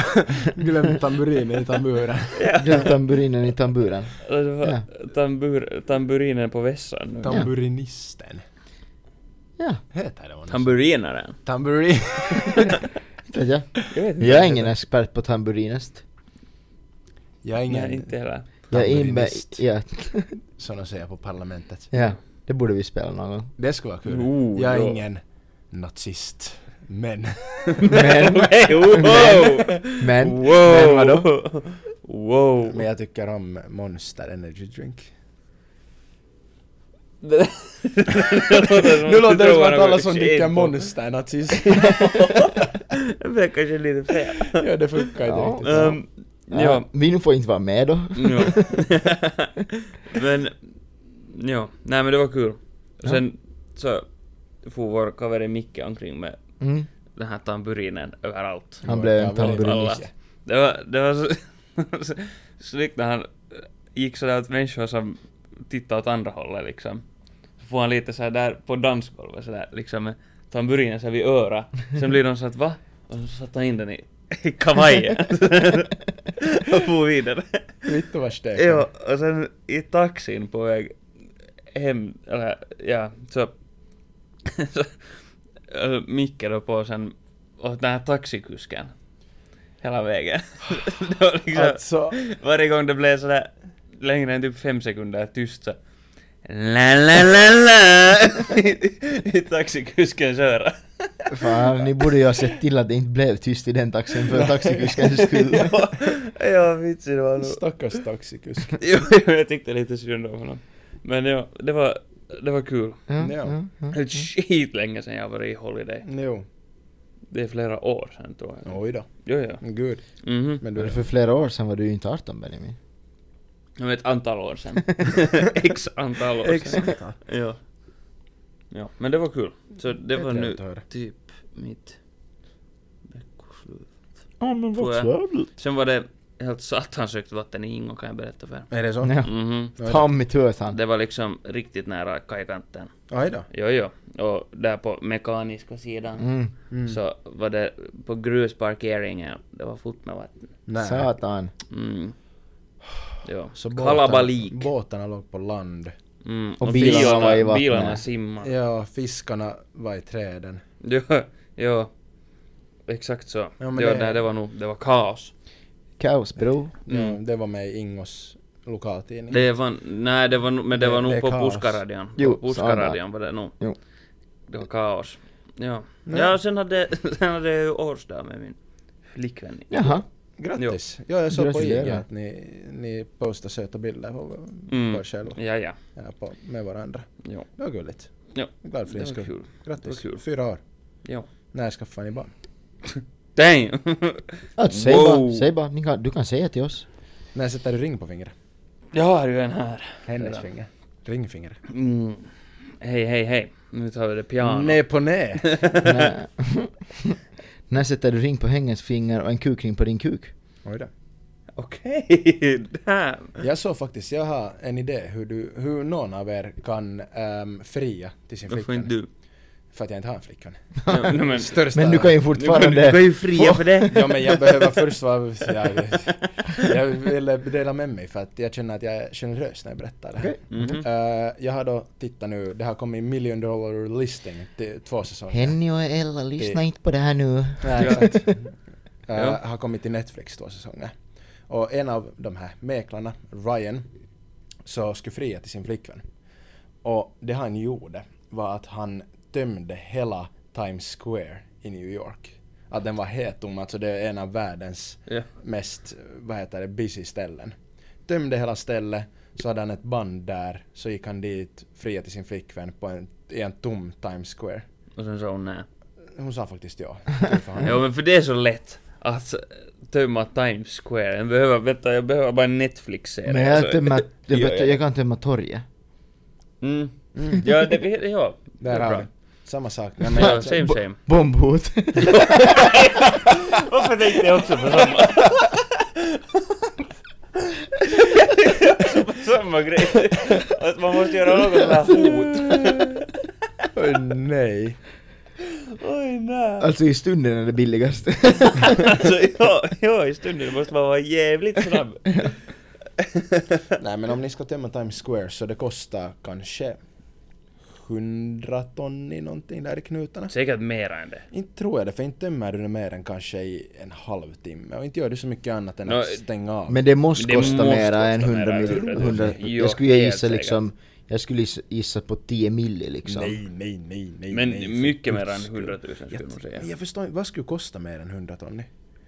glöm tamburinen i tamburen.
Glömt tamburinen i tamburen.
Alltså, vad- Tambur, tamburinen på vässan nu.
Tamburinisten.
Ja,
Heter det vad
Tamburinaren?
Tamburin.
inte vet jag.
Jag vet inte.
Jag är ingen expert på tamburinist.
Jag är
Nej,
ingen
inte heller.
Jag är inbe...
Tamburinist.
Ja.
som de säger på parlamentet.
ja, det borde vi spela någon gång.
Det skulle vara kul.
Oh,
jag är
ja.
ingen nazist. Men.
Men,
Okej, wow! Oh.
men,
Wow! Wow! Oh.
Men jag tycker om Monster Energy Drink. Nu låter det som att alla som dricker Monster är nazist.
Det blev kanske lite fel.
ja, det funkar inte
Ja.
riktigt.
Ehm, ja.
Ja. Mino får inte vara med då.
ja. men, ja. Nej men det var kul.
Ja.
Sen så for vår kaveri Micke omkring med
Mm.
den här tamburinen överallt.
Han blev en
Ja, väldigt
Alla.
tamburinist.
Det var, det var så, så snyggt när han gick sådär åt människor som tittade åt andra hållet liksom. Så får han lite såhär där på dansgolvet sådär liksom med tamburinen såhär vid öra. Sen blir de så att va? Och så satte han in den i, i kavajen. och for vidare.
Vittu vad stek.
Ja, och sen i taxin på väg hem, eller ja, så... så äh, Micke då på sen åt den här taxikusken. Hela vägen. det var liksom,
Alltså,
varje gång det blev sådär längre än typ fem sekunder tyst så... La, la, la, la! Niin, I, i taxikuskens öra.
Fan, ni borde ju ha sett till att det inte blev tyst i den taxin för taxikuskens skull.
ja, ja, vitsi det var nog...
stackars taxikusk.
Jo, jag tyckte lite synd om honom. Men ja, det var, det var
Mm.
kul.
Ja,
Ja.
ja, ja.
Det är skit länge sedan jag var i Holiday.
Jo,
Det är flera år sedan tror jag.
oj då.
Jo, jo.
Gud.
Mhm.
Men
Men
du,
för flera år sedan var du ju inte 18 Benjamin.
Det var ett antal år sedan. X antal år sedan. ja. ja. Men det var kul. Så det var nu typ mitt veckoslut.
Ja men
vad Får jag? Sen var det helt satans högt vatten i Ingo kan jag berätta för er.
Är det så?
Ja.
Mhm.
Tommy Tösan.
Det var liksom riktigt nära kajkanten.
Oj då.
Jo, jo. Och där på mekaniska sidan.
Mm.
så var det på grusparkeringen, det var fullt med vatten.
Nej.
Satan.
Mm. Jo.
Så
Kalabalik.
båtarna- Båtarna låg på land.
Mm.
Och bilarna var i vattnet.
Bilarna simmade.
Ja, fiskarna var i träden.
Jo, jo. Exakt så.
Ja,
Ja,
men
jo,
det-
det... Nej, det var nog, det var kaos.
Kaos bro.
Mm.
Ja, det var med i Ingos lokaltidning.
Det var, nej, det var, nog- men det,
Det-
var nog
det är
på
kaos.
Puskaradion.
Jo,
på Puskaradion var det nog.
Jo.
Det var kaos. Ja.
Nej.
Ja, sen hade, sen hade jag ju årsdag med min
Mm.
flickvän.
Jaha.
Grattis! Ja, jag såg på
Gratulerar.
IG att ni, ni postade söta bilder på
Mm.
på er själva.
Ja, ja.
Ja, på, med varandra.
Jo.
Det var gulligt.
Ja.
Glad för din
Det var
skull.
kul.
Grattis!
Det var kul.
Fyra år.
Ja.
När skaffade ni barn?
Damn!
Alltså, säg
Wow.
bara, säg bara. Ni kan, du kan säga till oss.
När sätter du ring på fingret?
Jag har ju en här.
Hennes
Där.
finger. Ringfinger.
Mm. Hej, hej, hej. Nu tar vi det piano.
Nej på nej!
När- När sätter du ring på hängens finger och en kukring på din kuk?
Oj då.
Okej, damn.
Jag såg faktiskt, jag har en idé hur, du, hur någon av er kan ehm, fria till sin
Varför inte
flickvän.
du?
För att jag inte har en flickvän.
Ja, nej, men,
Största...
Men du kan ju
du kan
fortfarande...
ju fria för det.
Ja men jag behöver först vara... Jag, jag ville dela med mig för att jag känner att jag är generös när jag berättar det här.
Mhm.
Eh, jag har då tittat nu, det har kommit million dollar listing till två säsonger.
Henny och Ella, lyssna inte på det här nu.
Nej,
Ja.
exakt. Eh,
Ja.
Har kommit till Netflix två säsonger. Och en av de här mäklarna, Ryan, så skulle fria till sin flickvän. Och det han gjorde var att han tömde hela Times Square i New York. Att den var helt tom, alltså det är en av världens
Ja.
mest, vad heter det, busy ställen. Tömde hela stället, så hade han ett band där, så gick han dit, fria till sin flickvän på en, i en tom Times Square.
Och sen sa hon nej.
Hon sa faktiskt ja. Tur för honom.
Ja men för det är så lätt att eh, tömma Times Square. Jag behöver, vänta, jag behöver bara en Netflix-serie.
Men jag,
alltså.
tömmer, jag,
Ja,
vet-
ja.
jag kan tömma torget.
Mm. Ja, det, ja. det är
Där har
bra.
vi. Samma sak. Nej, men
Ja,
jag,
same same.
Bombhot.
Varför tänkte jag också på samma? på samma grej. Att man måste göra något sånt här hot.
Oj, nej.
Oj nej.
Alltså i stunden är det billigast.
Alltså ja, ja i stunden måste man vara jävligt snabb.
nej men om ni ska tömma Times Square så det kostar kanske 100 ton i någonting där i knutarna.
Säkert mera än det.
Inte tror jag det, för inte tömmer du det mer än kanske i en halvtimme och inte gör du så mycket annat än
Nå,
att stänga av.
Men det måste
Det
kosta
måste kosta
mera än 100
mera,
miljoner.
tror jag.
100,
Jo,
jag skulle ju
helt
gissa liksom... Jag skulle gissa- gissa på 10 milli liksom.
Nej, nej, nej, nej.
Men
nej, för
mycket
guds
mer än
skull.
100 000 skulle jag nog säga.
Jag förstår inte, vad skulle kosta mer än 100 ton?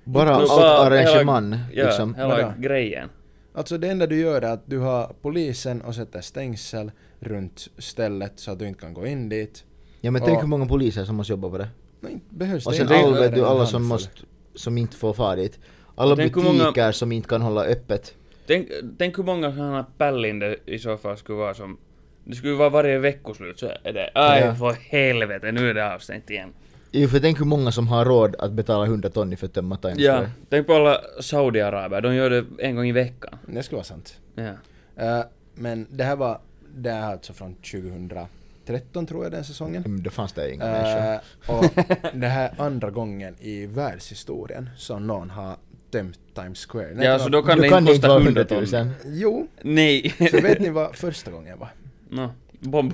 Bara
Nå,
allt
bara hela-
arrangemang
Ja,
liksom.
hela
Vadå?
grejen.
Alltså det enda du gör är att du har polisen och sätter stängsel runt stället så att du inte kan gå in dit.
Ja men tänk
Ja.
hur många poliser som måste jobba på det.
Nej, behövs
Och
det
sen
inte
alla,
mer
vet du,
än
alla
en handfull.
som, måste, som inte får fara dit. Alla
Tänk hur
butiker
många-
som inte kan hålla öppet.
Tänk, tänk hur många sådana pällin det i så fall skulle vara som... Det skulle ju vara varje veckoslut så är det... Aj,
Ja.
för helvete, nu är det avstängt igen.
Jo för tänk hur många som har råd att betala 100 ton för att tömma Times
Ja,
Square.
tänk på alla Saudiaraber, de gör det en gång i veckan.
Det skulle vara sant.
Ja.
Eh, men det här var, det här alltså från 2013 tror jag den säsongen.
Men då fanns Mm, det inga människor.
Eh, och det här är andra gången i världshistorien som någon har tömt Times Square. Nej,
ja,
det
så
var-
då kan det
då kan
inte
det
kosta
inte vara
100
100
ton.
000.
Jo,
Nej.
så vet ni vad första gången var?
no, bomb.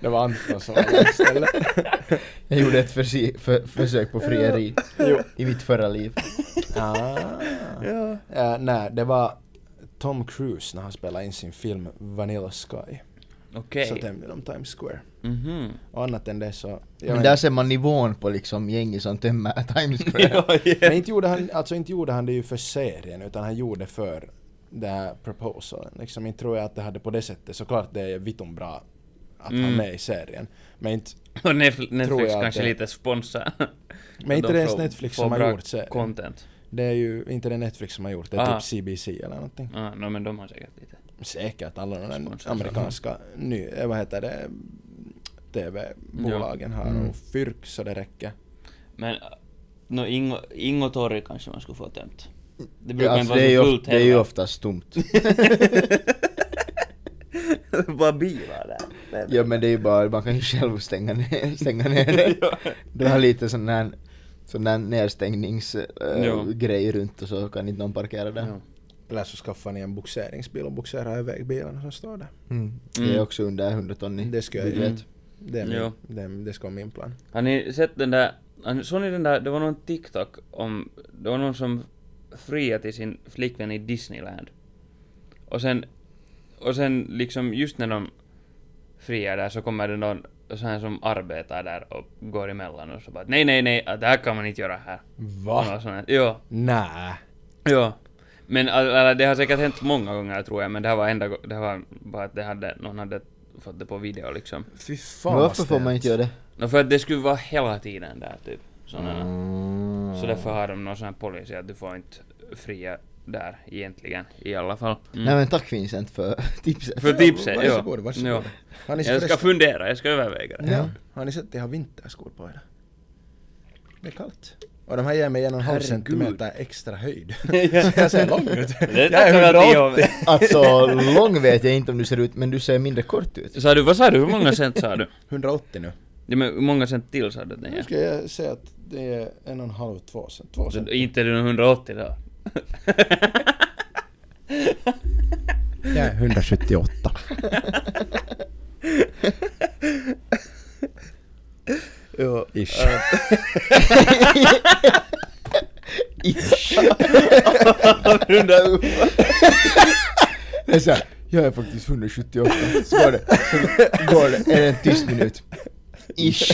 Det var Anton som var istället.
Jag gjorde ett försi- för, försök på frieri
Jo.
i mitt förra liv.
Ah.
ja.
Eh, nej, det var Tom Cruise när han spelade in sin film Vanilla Sky.
Okej.
Så tömde de Times Square.
Mhm.
Och annat än det så... jag
Men
vet
där
inte.
ser man nivån på liksom gänget som tömmer Times Square.
Ja,
Men
ja.
inte gjorde han, alltså inte gjorde han det ju för serien utan han gjorde det för det här proposalen. Liksom inte tror jag att det hade på det sättet. Såklart det är vittum bra att ha
Mm.
med i serien. Men inte,
Och Netflix, Netflix
jag att
kanske
det-
lite sponsrar.
men inte
De
det är ens
får-
Netflix
får
som har
bra
gjort serien.
content.
Det är ju inte det Netflix som har gjort det,
Ah.
typ CBC eller någonting.
Ah, no, men de har säkert lite.
Säkert alla de där
Sponsor.
amerikanska ny, eh, vad heter det, TV-bolagen har
Mm.
och fyrk så det räcker.
Men, äh, nå Ingo, Ingo Torg kanske man skulle få tömt. Det brukar inte
Alltså, det, är ju
vara så fullt
ofta, det är ju oftast tomt.
Bara bilar där.
Ja men det är ju bara, man kan ju själv stänga ner, stänga ner det. Du har lite sån här, sån här
Ja.
nedstängningsgrej runt och så kan inte någon parkera där.
Ja.
Eller så skaffar ni en boxeringsbil och boxerar iväg bilen som står där.
Mm.
Mm.
Det är också under 100 ton i
Det ska jag
budget.
ju. Mm. Det, är
Ja.
min, det, det ska vara min plan.
Har ni sett den där, har ni- såg ni den där, det var någon TikTok om, det var någon som friade till sin flickvän i Disneyland. Och sen, och sen liksom just när de friar där så kommer det någon sån här som arbetar där och går emellan och så bara nej nej nej, att det här kan man inte göra här. Och någon sån här, jo,
Nä.
jo. Men all- eller, det har säkert hänt många gånger tror jag, men det här var enda go- det här var bara att det hade, någon hade fått det på video liksom.
Fy fan
Men
vad
varför får
stelt.
man inte göra det?
No för att det skulle vara hela tiden där typ, sådana.
Mm.
Så därför har de någon sån här policy att du får inte fria där egentligen, i alla fall. Mm.
Nej men tack Vincent för tipset.
För tipset, ja.
Varsågod, varsågod.
Ja.
Har ni,
Jag ska
förresten-
fundera, jag ska överväga det.
ja. har ni sett att jag har vinterskor på er? Det är kallt. Och de här ger mig en och en halv
Herregud.
centimeter extra höjd. Så jag ser lång ut.
Det
jag
tackar jag dig
är
om.
180.
Alltså lång vet jag inte om du ser ut men du ser mindre kort ut.
Sa du, vad sa du, hur många cent sa du?
180 nu.
Ja, men hur många cent till sa du att den
Nu
ger?
ska jag säga att det är en och en halv, två cent. Två
Så
cent.
Inte är det nog 180 då?
Jag är 178.
Jo.
Ish.
Ish. Det är såhär, jag är faktiskt 178. Så går det, så går det, är det en tyst minut. Ish.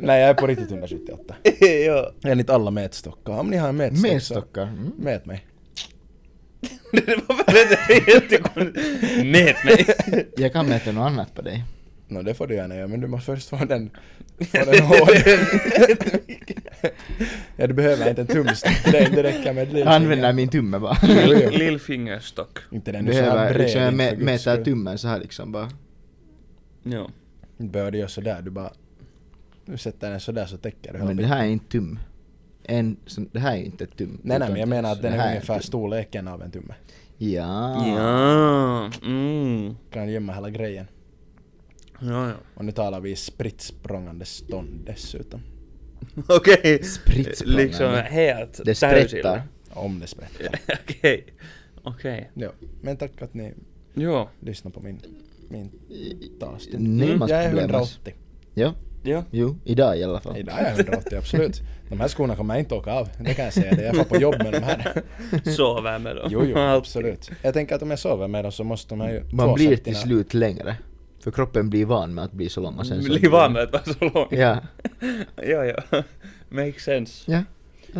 Nej, jag är på riktigt 178.
Jo.
Enligt alla mätstockar. Om ni har en mätstock så
Medstockar. Mm.
Mät mig.
Det var väldigt jättekonstigt. Mät mig.
Jag kan mäta något annat på dig.
Nå det får du gärna göra men du måste först få den, få den hård. ja du behöver inte en tumstock, det, det räcker med ett
Jag
litet
använder min tumme bara.
Jo, jo.
Lillfingerstock.
Inte den du så här
Behöver
bred
liksom, jag
inte för
mä-
guds
mäta
skull.
tummen så här liksom bara.
Jo.
Du behöver du göra sådär, du bara... Du sätter den sådär så täcker du hela
Men det
bilden.
här är inte tum. En, sån- det här är ju inte ett tum.
Nej nej
utan
men jag menar att
så
den
det här
är
en
ungefär
tum.
storleken av en tumme.
Ja.
Ja. Mm.
Kan gömma hela grejen.
Ja, ja.
Och nu talar vi i spritt språngande stånd dessutom.
Okej.
Spritt språngande.
Liksom helt
Det sprättar.
Om det sprättar.
Okej. Okej.
ja. Men tack att ni
Jo.
lyssnar på min, min tas.
Nej, man
jag är
problemas.
180.
Ja,
Ja.
jo, idag i alla fall.
Idag är jag 180, absolut. De här skorna kommer jag inte åka av, det kan jag säga. Det är jag får på jobb med de här.
Sover med dem.
Jo, jo,
Alltid.
absolut. Jag tänker att om jag sover med dem så måste de här ju...
Man
två
blir till
centina-
slut längre. För
Mm,
kroppen blir van med att bli så lång och sen så...
Bli van med att vara så lång.
Ja.
ja, ja. Makes sense.
Ja.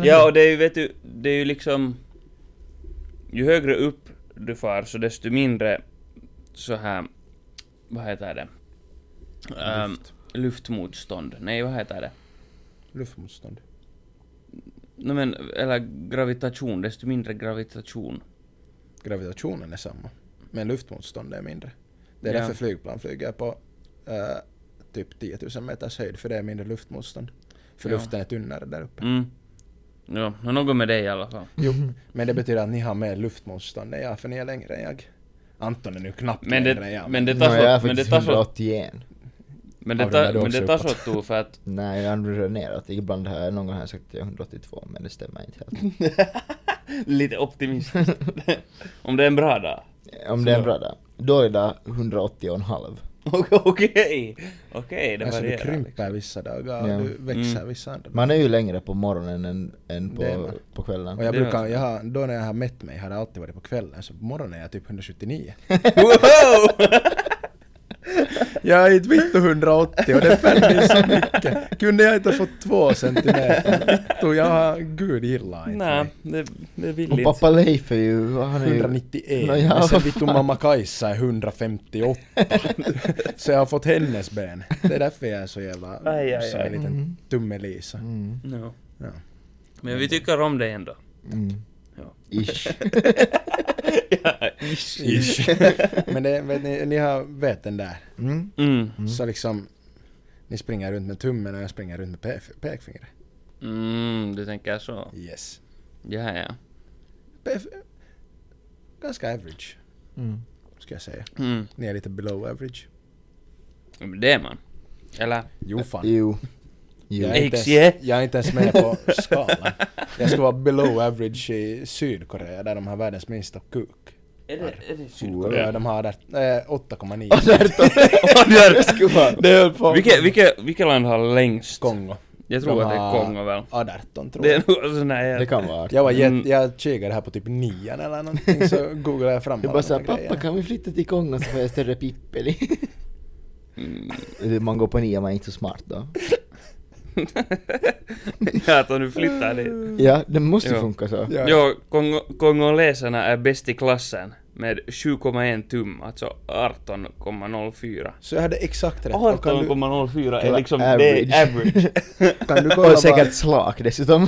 Ja, och det är ju, vet du, det är ju liksom... Ju högre upp du far, så desto mindre så här... Vad heter det? Ehm, luftmotstånd. Nej, vad heter det?
Luftmotstånd.
No, men, eller gravitation, desto mindre gravitation.
Gravitationen är samma. Men luftmotståndet är mindre. Det är
Ja.
därför flygplan flyger på eh, typ 10 000 meters höjd, för det är mindre luftmotstånd. För
Ja.
luften är tunnare där uppe.
Mm. Ja, no, något med det i alla fall.
Jo, men det betyder att ni har mer luftmotstånd än jag, för ni är längre än jag. Anton är nu knappt
Men
längre än
det,
jag.
men det
Nå, jag är
tar så... Men det
faktiskt
tar så...
181.
Men det
Ja, den är
tar,
då
men det
också
tar
uppåt.
så tog för att...
Nej, jag rör neråt. Ibland har jag någon gång har jag sagt att jag är 182, men det stämmer inte helt.
Lite optimistiskt. Om det är en bra dag.
Om det är en bra dag. Då är det 180,5.
Okej, okej. Okej, det
alltså, du
varierar.
krymper
liksom.
vissa dagar,
Ja.
du växer
Mm.
vissa andra
Man är ju längre på morgonen än, än
Det är
på,
man.
på kvällen.
Och jag
Det är
brukar,
alltså-
jag har, då när jag har mätt mig har det alltid varit på kvällen, så på morgonen är jag typ 179.
Wow!
jag är inte vitt och 180 och det fäller mig så mycket. Kunde jag inte ha fått två centimeter? Vittu, jag har, gud gillar inte
Nej,
mig.
det, det är
Och
billigt.
pappa Leif är ju... Han är ju...
191.
No, ja,
men sen
vad
vittu
fan.
mamma Kajsa är 158. så jag har fått hennes ben. Det är därför jag är så jävla,
Aj, aj,
som en
aj.
Mm.
liten tummelisa.
Mm.
No.
Ja.
Men vi tycker om det ändå.
Mm.
Ja.
Ish.
ja, ish.
Ish. Men det, vet ni, ni har vet den där.
Mm.
Mm.
Så liksom, ni springer runt med tummen och jag springer runt med pef- pekfingret.
Mm, du tänker så.
Yes.
Ja, ja.
Pef- ganska average,
Mm.
ska jag säga.
Mm.
Ni är lite below average.
Men Det är man. Eller?
Jo fan.
Jo. Jo.
Jag är, inte
Eiks,
ens, jag är inte ens med på skalan. Jag ska vara below average i Sydkorea där de har världens minsta kuk.
Är det, är det
Ja,
Sydkorea?
de har där, eh, 8,9.
Det höll på.
Vilket, vilket, vilket land har längst?
Kongo.
Jag tror
de
att det är
har
Kongo väl?
18 tror
Det
jag.
är nog sån här...
Det kan vara.
Jag, var jätt,
Mm.
jag kikade här på typ nian eller någonting så googlade jag fram
Jag
alla
bara
de
såhär,
här
pappa
grejerna."
kan vi flytta till Kongo så får jag större pippeli?
Mm.
man går på nia, man är inte så smart då.
ja, att om du flyttar dit.
Ja, det måste ju
Jo.
funka så.
Ja.
Jo, Kongo, kongoleserna är bäst i klassen med 7,1 tum, alltså 18,04.
Så jag hade exakt rätt. Och kan, du,
18,04 är
Eller
liksom det är average.
kan du kolla
Och säkert slak dessutom.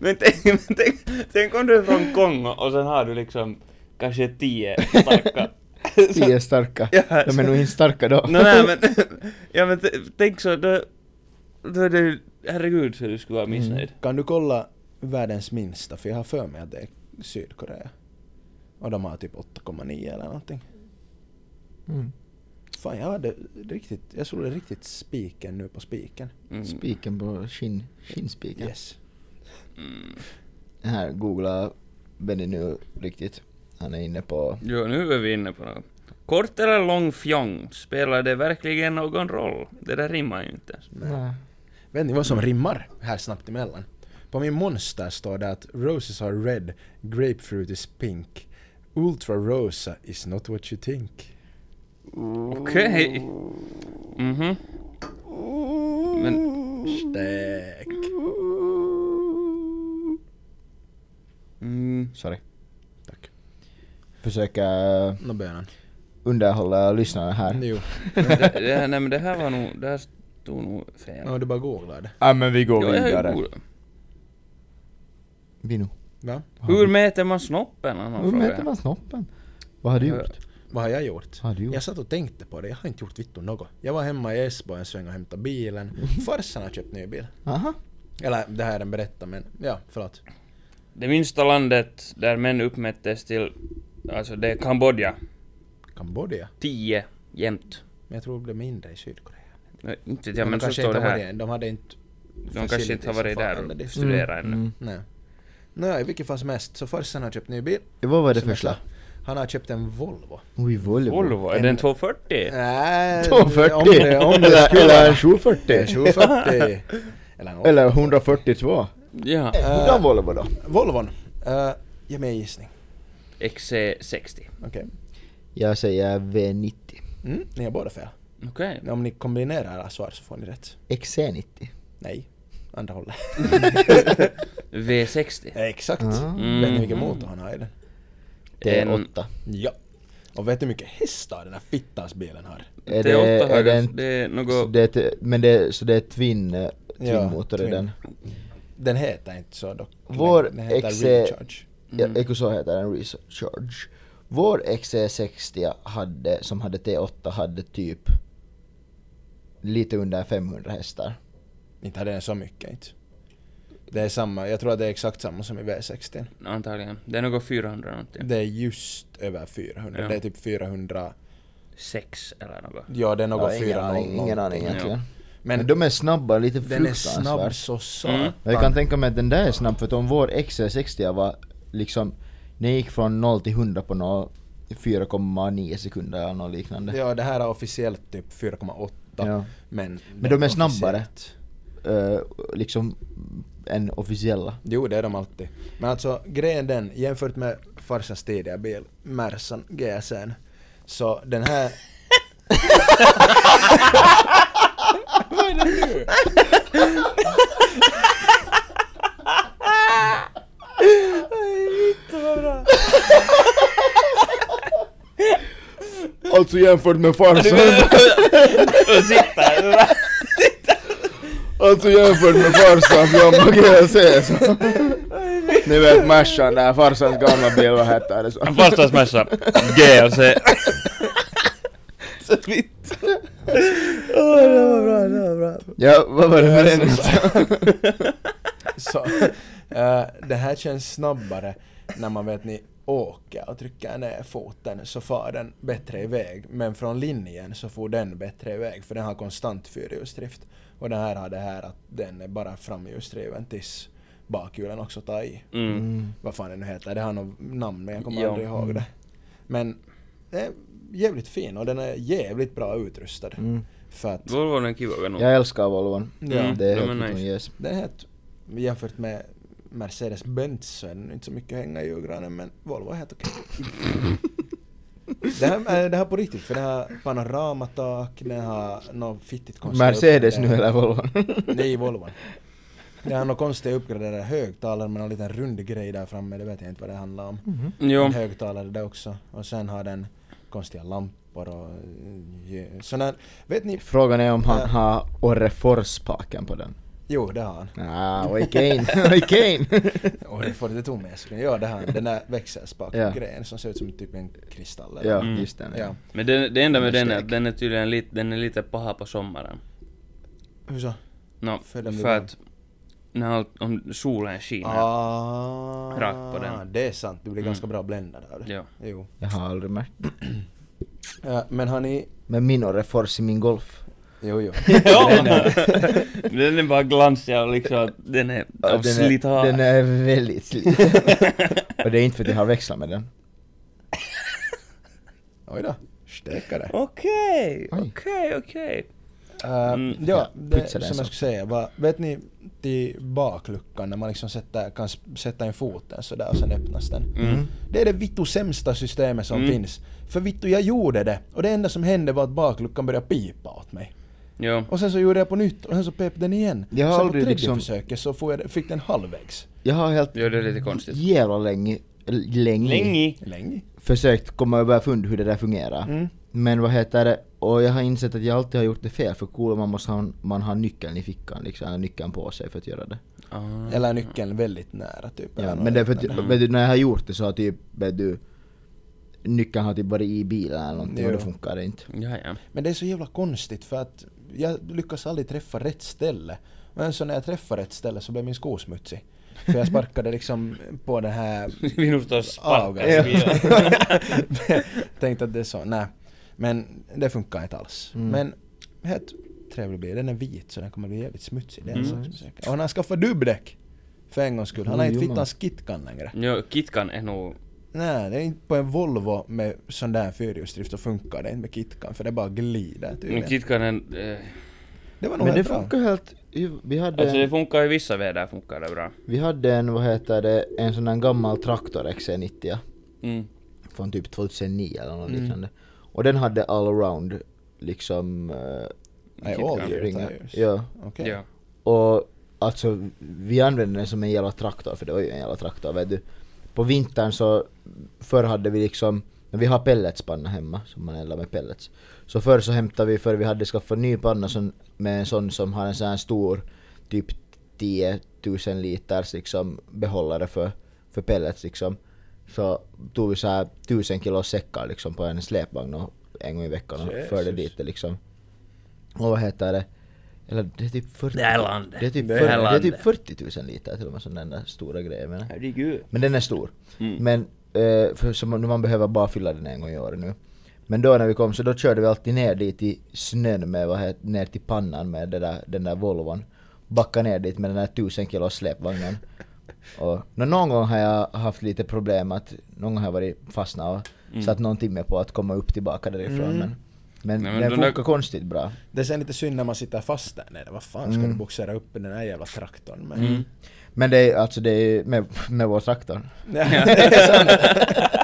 men tänk, men tänk, tänk om du är från Kongo och sen har du liksom kanske 10 starka.
Tio starka.
Ja,
De är nog inte starka då.
no, nej, men, ja, men t- tänk så, då, då är det ju- herregud så du skulle vara missnöjd.
vad, kan du kolla världens minsta? För jag har för mig att det är Sydkorea. Och de har typ 8,9 eller någonting.
Mm.
Fan jag hade riktigt, jag slog det riktigt spiken nu på spiken.
Mm.
Spiken på skinn, skinnspiken.
Yes.
Mm.
Här googlar Benny nu riktigt. Han är inne på...
Jo, nu är vi inne på något. Kort eller lång fjong, spelar det verkligen någon roll? Det där rimmar ju inte. ens.
Nej.
Vet ni vad som rimmar här snabbt emellan? På min monster står det att roses are red, grapefruit is pink. Ultra rosa is not what you think.
Okej. Mhm. Men,
Stäk.
mm,
Sorry.
Tack.
Försöker
Nå bönan.
underhålla lyssnarna här.
Jo.
det, det, nej men det här var nog, det här stod nog fel.
Ja, du bara googlade.
Ja men vi går
Jo, jag är god.
Vino.
Va?
Hur mäter man snoppen? Han har
Hur mäter
frågat.
man snoppen? Vad har du
Ja.
gjort?
Vad har jag gjort?
Vad har du gjort?
Jag satt och tänkte på det, jag har inte gjort vittu något. Jag var hemma i Esbo en sväng och hämtade bilen.
Mm.
Farsan har köpt ny bil.
Aha.
Eller det här är en berätta men, ja förlåt.
Det minsta landet där män uppmättes till, alltså det är Kambodja.
Kambodja?
10 jämt.
Men jag tror det blir mindre i Sydkorea.
Nej, Inte vet jag,
de
men så
kanske
står det
inte har
här.
varit- De hade inte...
De kanske inte har varit där och
och...
studerat ännu.
Nej. Nåja, i vilket fall som helst, så farsan har köpt ny bil.
Vad var det
Som jag
för
sa,
slags?
Han har köpt en Volvo.
Oj, Volvo.
Volvo, är den 240?
Nej,
240!
Om det, om det
eller,
skulle
eller en
vara...
740.
740! Eller, en-
Eller
Eh.
142.
Ja.
Hurdan Volvo då?
Volvon. Uh, ge mig en gissning.
E XC60.
Okej.
Jag säger V90.
Mm, ni har båda fel.
Okej.
Om ni kombinerar era svar så får ni rätt.
XC90.
Nej, andra hållet.
V60.
Exakt.
Ah.
Mm.
Vet ni vilken motor han har i den?
En-
T8.
Ja. Och vet ni hur mycket hästar den här fittans bilen har?
Är
Det är åtta
är det
högre,
en,
det är
så
något...
det är, ett- men det är, så det är twin, eh,
Ja,
twin-motor i
twin.
den?
Den heter inte så dock.
Vår E-
den heter
ex-
Recharge.
Ja, Eko så heter den, Recharge. Vår XC60 hade, som hade T8 hade typ lite under 500 hästar.
Inte hade den så mycket inte. Det är samma, jag tror att det är exakt samma som i V60.
Antagligen. Det är något 400 någonting.
Det är just över 400.
Ja.
Det är typ 400.
Sex eller något.
Ja, det är något
Ja,
400.
ingen aning, ingen aning
någonting.
egentligen. Men,
Men
de är snabba, lite
den är snabb
fruktansvärt.
så
Mm.
satan.
Men jag kan tänka mig att den där är snabb för att om vår XC60 var liksom, den gick från 0 till 100 på nå 4,9 sekunder eller något liknande.
Ja, det här är officiellt typ 4,8.
Ja.
Men,
Men de är snabbare. Eh, liksom, än officiella.
Jo, det är de alltid. Men alltså grejen den, jämfört med farsans tidiga bil, Mercan GSN, så den här... Vad är det nu?
Alltså jämfört med farsan.
Sitta!
Alltså jämfört med farsan från GLC så. Ni vet Mercan där, farsans gamla bil, vad hette det så?
Fastansmässa. GLC.
Ja, vad var det med den?
Så, eh, det här känns snabbare när man vet ni åker och trycker ner foten så far den bättre iväg. Men från linjen så får den bättre iväg för den har konstant fyrhjulsdrift. Och den här har det här att den är bara framhjulsdriven tills bakhjulen också tar i.
Mm.
vad fan den nu heter, det har något namn men jag kommer
Ja.
aldrig ihåg
Mm.
det. Men det är jävligt fin och den är jävligt bra utrustad.
Mm.
För att
Volvon är kiva nog.
Jag älskar Volvon. Mm.
Ja.
Det är
De är
helt nice.
nice.
yes.
den är helt, jämfört med Mercedes-Benz så är den inte så mycket att hänga i julgranen men Volvo är helt okej. det, här, äh, det här på riktigt för den har panoramatak, den har något fittigt konstigt.
Mercedes nu
uppgraderat-
eller Volvon?
Nej, Volvo. Det har något konstigt uppgraderade högtalare med någon liten rund grej där framme, det vet jag inte vad det handlar om.
Mm-hmm.
Jo.
en högtalare där också. Och sen har den konstiga lampor och eh, sådana... Vet ni?
Frågan är om
Ja.
han har Orreforspaken på den.
Jo, det har han.
Ah, oj Kane, oj Kane!
Och det får lite tom jag skulle göra det här. Den där växelspakgrejen
Ja.
grejen som ser ut som typ en kristall. eller-
Ja,
Mm.
just den.
ja.
Ja.
Men det, det enda med
Den
den
är
är att
stek.
den är tydligen lite, den är lite paha på sommaren.
Hur så?
No,
För den
för,
blir-
att när allt, om solen skiner.
Ah,
Rakt på den.
Det är sant, du blir
Mm.
ganska bra bländad av det.
Ja.
Jo.
Jag har aldrig märkt.
Eh, men har ni...
Men min Orrefors i min Golf.
Jo, jo.
den, är, den är bara glansig och liksom att den är av
den, är,
slitage.
den är väldigt sliten. Och det är inte för att jag har växlat med den.
Oj då. Stekare.
Okej,
Oj.
okej, okej.
Eh,
Mm.
ja,
Ja,
det
pytsa
som
den
jag
så.
skulle säga var, vet ni till bakluckan när man liksom sätter, kan s- sätta in foten sådär och sen öppnas den.
Mm.
Det är det vittu sämsta systemet som
Mm.
finns. För vittu, jag gjorde det och det enda som hände var att bakluckan började pipa åt mig.
Jo.
Och sen så gjorde jag på nytt och sen så pep den igen.
Jag har
sen på
aldrig
tredje
liksom-
försöket så får jag, det- fick den halvvägs.
Jag har helt
Jo, det är lite konstigt.
jävla länge, länge,
Länge.
Länge.
försökt komma överfund hur det där fungerar.
Mm.
Men vad heter det, och jag har insett att jag alltid har gjort det fel för coola man måste ha, man har nyckeln i fickan liksom, eller nyckeln på sig för att göra det.
Ah.
Eller nyckeln väldigt nära typ. eller
Ja,
något
men det är för att,
liknande.
vet du, när jag har gjort det så har typ, vet du, nyckeln har typ varit i bilen eller någonting och
Jo.
då funkar det inte.
Ja, ja.
Men det är så jävla konstigt för att jag lyckas aldrig träffa rätt ställe. Men så när jag träffar rätt ställe så blir min sko smutsig. För jag sparkade liksom på den här
Vi nog står och sparkar i
Ja.
bilen.
Tänkte att det är så, nej. Men det funkar inte alls.
Mm.
Men helt trevlig bil. Den är vit så den kommer bli jävligt smutsig. Det är en
Mm.
sak som är säker. Och han har skaffat dubbdäck. För en gångs skull. Han har
Oj,
inte
jumma.
fittans kitkan längre.
Jo, kitkan är nog...
Nej, det är inte på en Volvo med sån där fyrhjulsdrift så funkar det inte med kitkan. För det bara glider
Men
tydligen.
kitkan är... Eh,
Det var nog
Men det
helt bra.
funkar helt, vi hade,
alltså det funkar i vissa väder funkar det bra.
vi hade en, vad heter det, en sån där gammal traktor XC90
Mm.
från typ 2009 eller något
Mm.
liknande. Och den hade allround liksom eh,
Nej,
Kitkan.
all year
ringar.
tires.
liksom. Ja.
Okej.
Ja.
Och alltså, vi använde den som en jävla traktor, för det var ju en jävla traktor vet du. På vintern så, förr hade vi liksom, när vi har pelletspanna hemma, som man eldar med pellets. Så förr så hämtade vi, för vi hade skaffat ny panna som, med en sån som har en sån här stor, typ 10 000 liters liksom behållare för, för pellets liksom. Så tog vi så här 1000 kilo säckar liksom på en släpvagn och en gång i veckan och förde
Jesus.
dit det liksom. Och vad heter det? Eller det är typ 40
Det här landet.
Det är typ,
Det här
40, det är
landet.
typ 40 000 liter till och med sån där stora grejer menar. jag.
Herregud. Mm.
Men den är stor. Men eh, för, så man, man behöver bara fylla den en gång i året nu. Men då när vi kom så då körde vi alltid ner dit i snön med, vad heter, ner till pannan med det där, den där Volvon. Backa ner dit med den där 1000 kilo släpvagnen. Och, nå, någon gång har jag haft lite problem att, någon gång har jag varit fastnat och
Mm.
satt någon timme på att komma upp tillbaka därifrån. Men, men,
Nej, men
den
de där-
funkar konstigt bra.
Det är sen lite synd när man sitter fast där nere. Vad fan ska
Mm.
du boxera upp den här jävla traktorn med?
Mm.
Men det är alltså det är med, med vår traktor.
Ja, det är sant.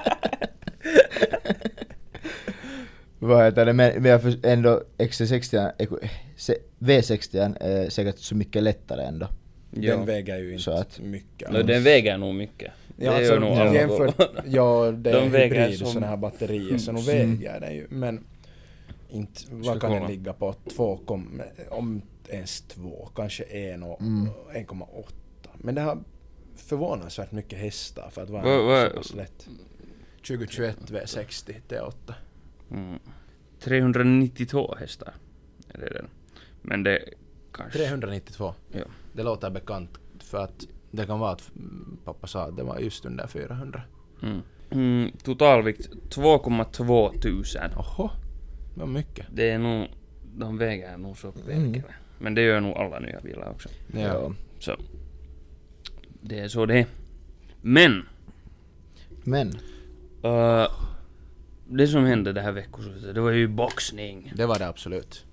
Vad heter det? Men, men jag för, ändå XC60, eko- se- V60 är säkert så mycket lättare ändå.
Ja.
Den väger ju inte
Så att-
mycket.
No, den väger nog mycket.
Ja,
det
alltså,
gör nog alla
jämfört,
Volvon.
ja, det är
De väger
hybrid
som- Mm.
sådana här batterier, så nog väger den ju. Men inte, vad kan
kolla.
den ligga på? Två kom, om ens två, kanske en och 1,8. Men det har förvånansvärt mycket hästar för att vara
Vad- vad-
så pass lätt. 2021 V60 T8.
Mm. 392 hästar. Är det den? Men det kanske...
392.
Ja.
Det låter bekant för att det kan vara att mm, pappa sa att det var just under 400.
Mm. Mm, totalvikt 2,2 tusen.
Oho, det var mycket.
Det är nog... De väger nog så
Mm.
mycket. Men det gör nog alla nya bilar också.
Ja.
Så... Det är så det är. Men!
Men,
eh, det som hände det här veckoslutet, det var ju boxning.
Det var det absolut.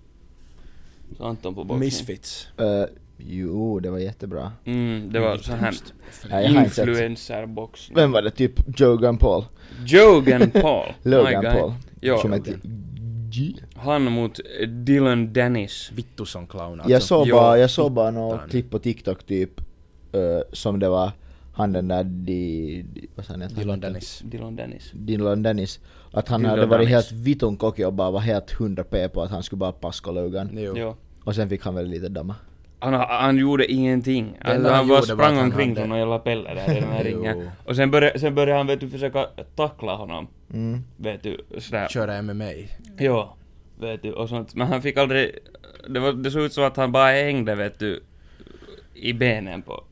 Så Anton på boxning.
Misfits.
eh, jo det var jättebra.
Mm, det var så här
Ja, jag har inte sett.
influencerboxning.
Vem var det? Typ Jogan Paul?
Jogan Paul.
Logan
my guy.
Paul?
Ja, Alltså,
Som heter G.
han mot Dylan Dennis.
Vittu som clown alltså.
Jag såg
ja,
bara, jag såg bara några
tittan.
klipp på TikTok typ, eh, som det var han den där di, di, vad sa han att han
Dylan
heter?
Dennis.
Dylan Dennis.
Dylan Dennis. Att han
Dylan
hade varit
Dennis.
helt vitun kockig och bara var helt 100p på att han skulle bara paska Logan.
Jo.
Ja.
Och sen fick han väl lite damma.
Han, han gjorde ingenting.
han
Alltså, han bara
gjorde var att
sprang
han
omkring
hade-
som någon jävla pelle där i den här
Jo.
ringen. Och sen började, sen började han vet du försöka tackla honom.
Mm.
Vet du, sådär.
Köra MMA.
Ja. Vet du, och sånt. Men han fick aldrig... Det, var, det såg ut som att han bara hängde vet du i benen på.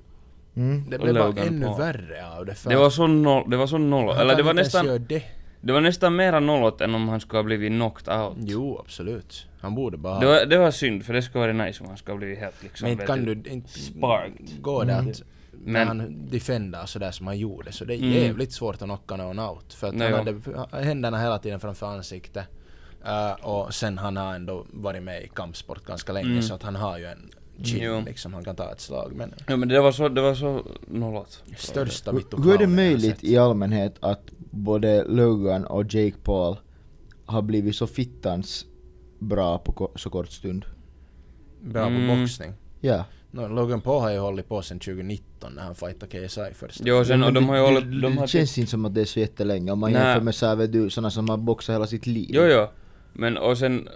Mm.
Det blev bara
Logan
ännu
Paul.
värre av det för
Det var så noll, det var så noll.
Han
Eller
kan
det var
inte ens
nästan...
göra det.
Det var nästan mera nollot än om han skulle ha blivit knocked out.
Jo, absolut. Han borde bara...
Det var, det var synd, för det skulle vara nice om han skulle ha blivit helt liksom...
men inte
vet
kan du... Inte
sparked.
Går det att... När
Men-
han defendar sådär som han gjorde så det är
Mm.
jävligt svårt att knocka någon out. För att
Nej,
han
ja.
hade händerna hela tiden framför ansiktet. Eh, och sen han har ändå varit med i kampsport ganska länge
Mm.
så att han har ju en chin
Jo.
liksom. Han kan ta ett slag men...
Ja men det var så, det var så nollot.
Största vittu
Hur är det
clownen jag har
möjligt
sett.
i allmänhet att både Logan och Jake Paul har blivit så fittans bra på ko- så kort stund?
Bra på
Mm.
boxning.
Ja.
No, Logan Paul har ju hållit på sedan 2019 när han fightade KSI först.
Jo och sen, och de har ju
det,
hållit, de har... typ-
det känns inte som att det är så jättelänge om man
Nej.
jämför med såhär vet du, såna som har boxat hela sitt liv.
Jo jo. Men och sen,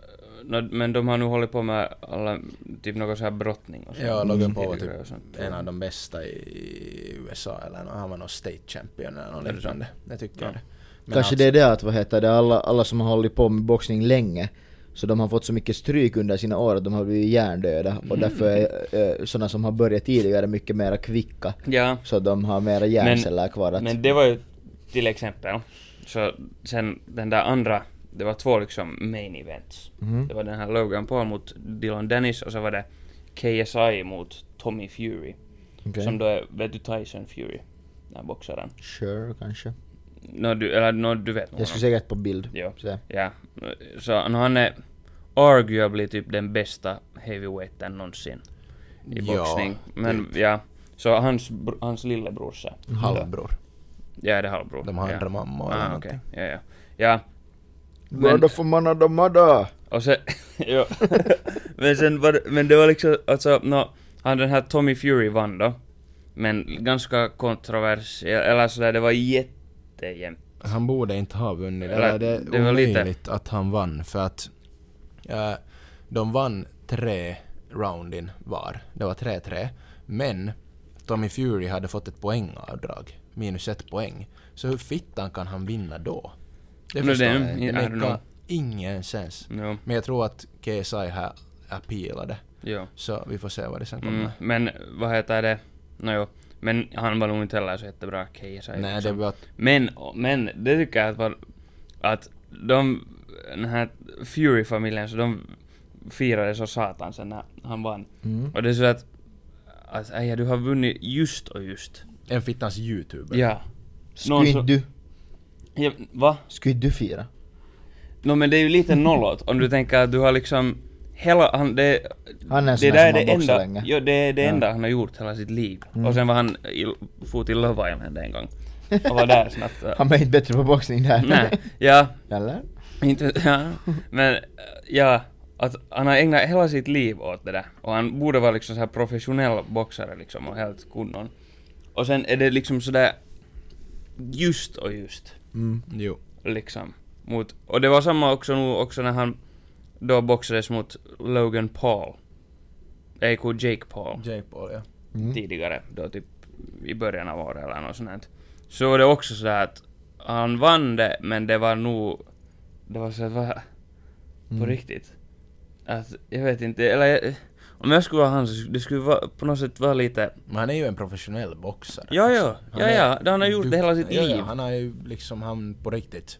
nå, men de har nu hållit på med alla, typ något så här brottning och så.
Ja,
Mm.
Logan Paul var
Tidigare och sånt.
typ en av de bästa i USA eller nå- han var någon state champion eller något
det
liknande. Jag tycker det. Men
Kanske
alltså,
det är det att vad heter det, alla, alla som har hållit på med boxning länge så de har fått så mycket stryk under sina år att de har blivit hjärndöda
Mm.
och därför är eh, sådana som har börjat tidigare mycket mera kvicka
Ja.
så de har mera hjärnceller kvar att...
Men det var ju till exempel, så sen den där andra, det var två liksom main events. Det var den här Logan Paul mot Dylan Dennis och så var det KSI mot Tommy Fury.
Okej.
Som då är, vet du Tyson Fury? Den här boxaren.
Sure, kanske.
Nå du, eller nå du vet nog
Jag skulle säkert på bild.
Ja.
Så.
Ja. Så no, han är arguably typ den bästa heavyweighten någonsin i
Ja,
boxning. Men ja, så hans, br- hans lillebrorsa.
Halvbror.
Ja, det är halvbror.
De har
ja.
andra mamma eller
Ah,
någonting.
okej. Ja, ja. ja, Men-
Mörda för manna da madda!
och sen... ja. men sen var det- men det var liksom, alltså, no, Han den här Tommy Fury vann då. Men ganska kontrovers, eller sådär, det var jättejämnt.
Han borde inte ha vunnit.
Eller,
Eller, det är
det var lite-
omöjligt att han vann för att eh, de vann tre roundin var. Det var 3-3. Men Tommy Fury hade fått ett poängavdrag. Minus ett poäng. Så hur fittan kan han vinna då? Det
Men
förstår
det-
jag inte.
I
Det
don't know. Mm.
makar ingen sens.
Jo,
Men jag tror att KSI här appealade.
jo.
Så vi får se vad det sen kommer.
Mm, men vad heter det? Nåjo. Men han var nog inte heller så jättebra KSI.
Nej, det
liksom.
var...
Men, men det tycker jag att var... Att de... Den här Fury-familjen, så de firade så satan sen när han vann.
Mm.
Och det är så att... Att äja, du har vunnit just och just.
En fittans youtuber.
Ja. Någon
Skulle
så-
inte du,
ja va?
skulle inte du fira?
No, men det är ju lite nollåt om du tänker att du har liksom hela, han, det,
Han är
det
en sån
där är
där som
det
har boxat
enda,
länge.
jo, det är det
Ja. Mm.
enda han har gjort hela sitt liv. Och sen var han, i, for till Love Island en gång. Och var där snabbt.
Han blev inte bättre på boxning där.
Nej, ja,
Eller?
inte, ja, men eh, ja, att han har ägnat hela sitt liv åt det där. Och han borde vara liksom så här professionell boxare liksom och helt kunnon. Och sen är det liksom sådär just och just.
Jo.
liksom. Mot, och det var samma också nu också när han då boxades mot Logan Paul. A.K. Jake Paul
Jake Paul, ja.
tidigare, då typ i början av året eller något sånt. här. Så var det också sådär att han vann det, men det var nog... Det var sådär, va? På riktigt? Att, jag vet inte, eller... jag- Om jag skulle vara han så skulle- det skulle vara, på något sätt vara lite...
Men han är ju en professionell boxare.
Ja, ja,
Alltså,
ja,
är
ja, det han har gjort det hela sitt
Ja, ja,
liv.
han har ju liksom, han på riktigt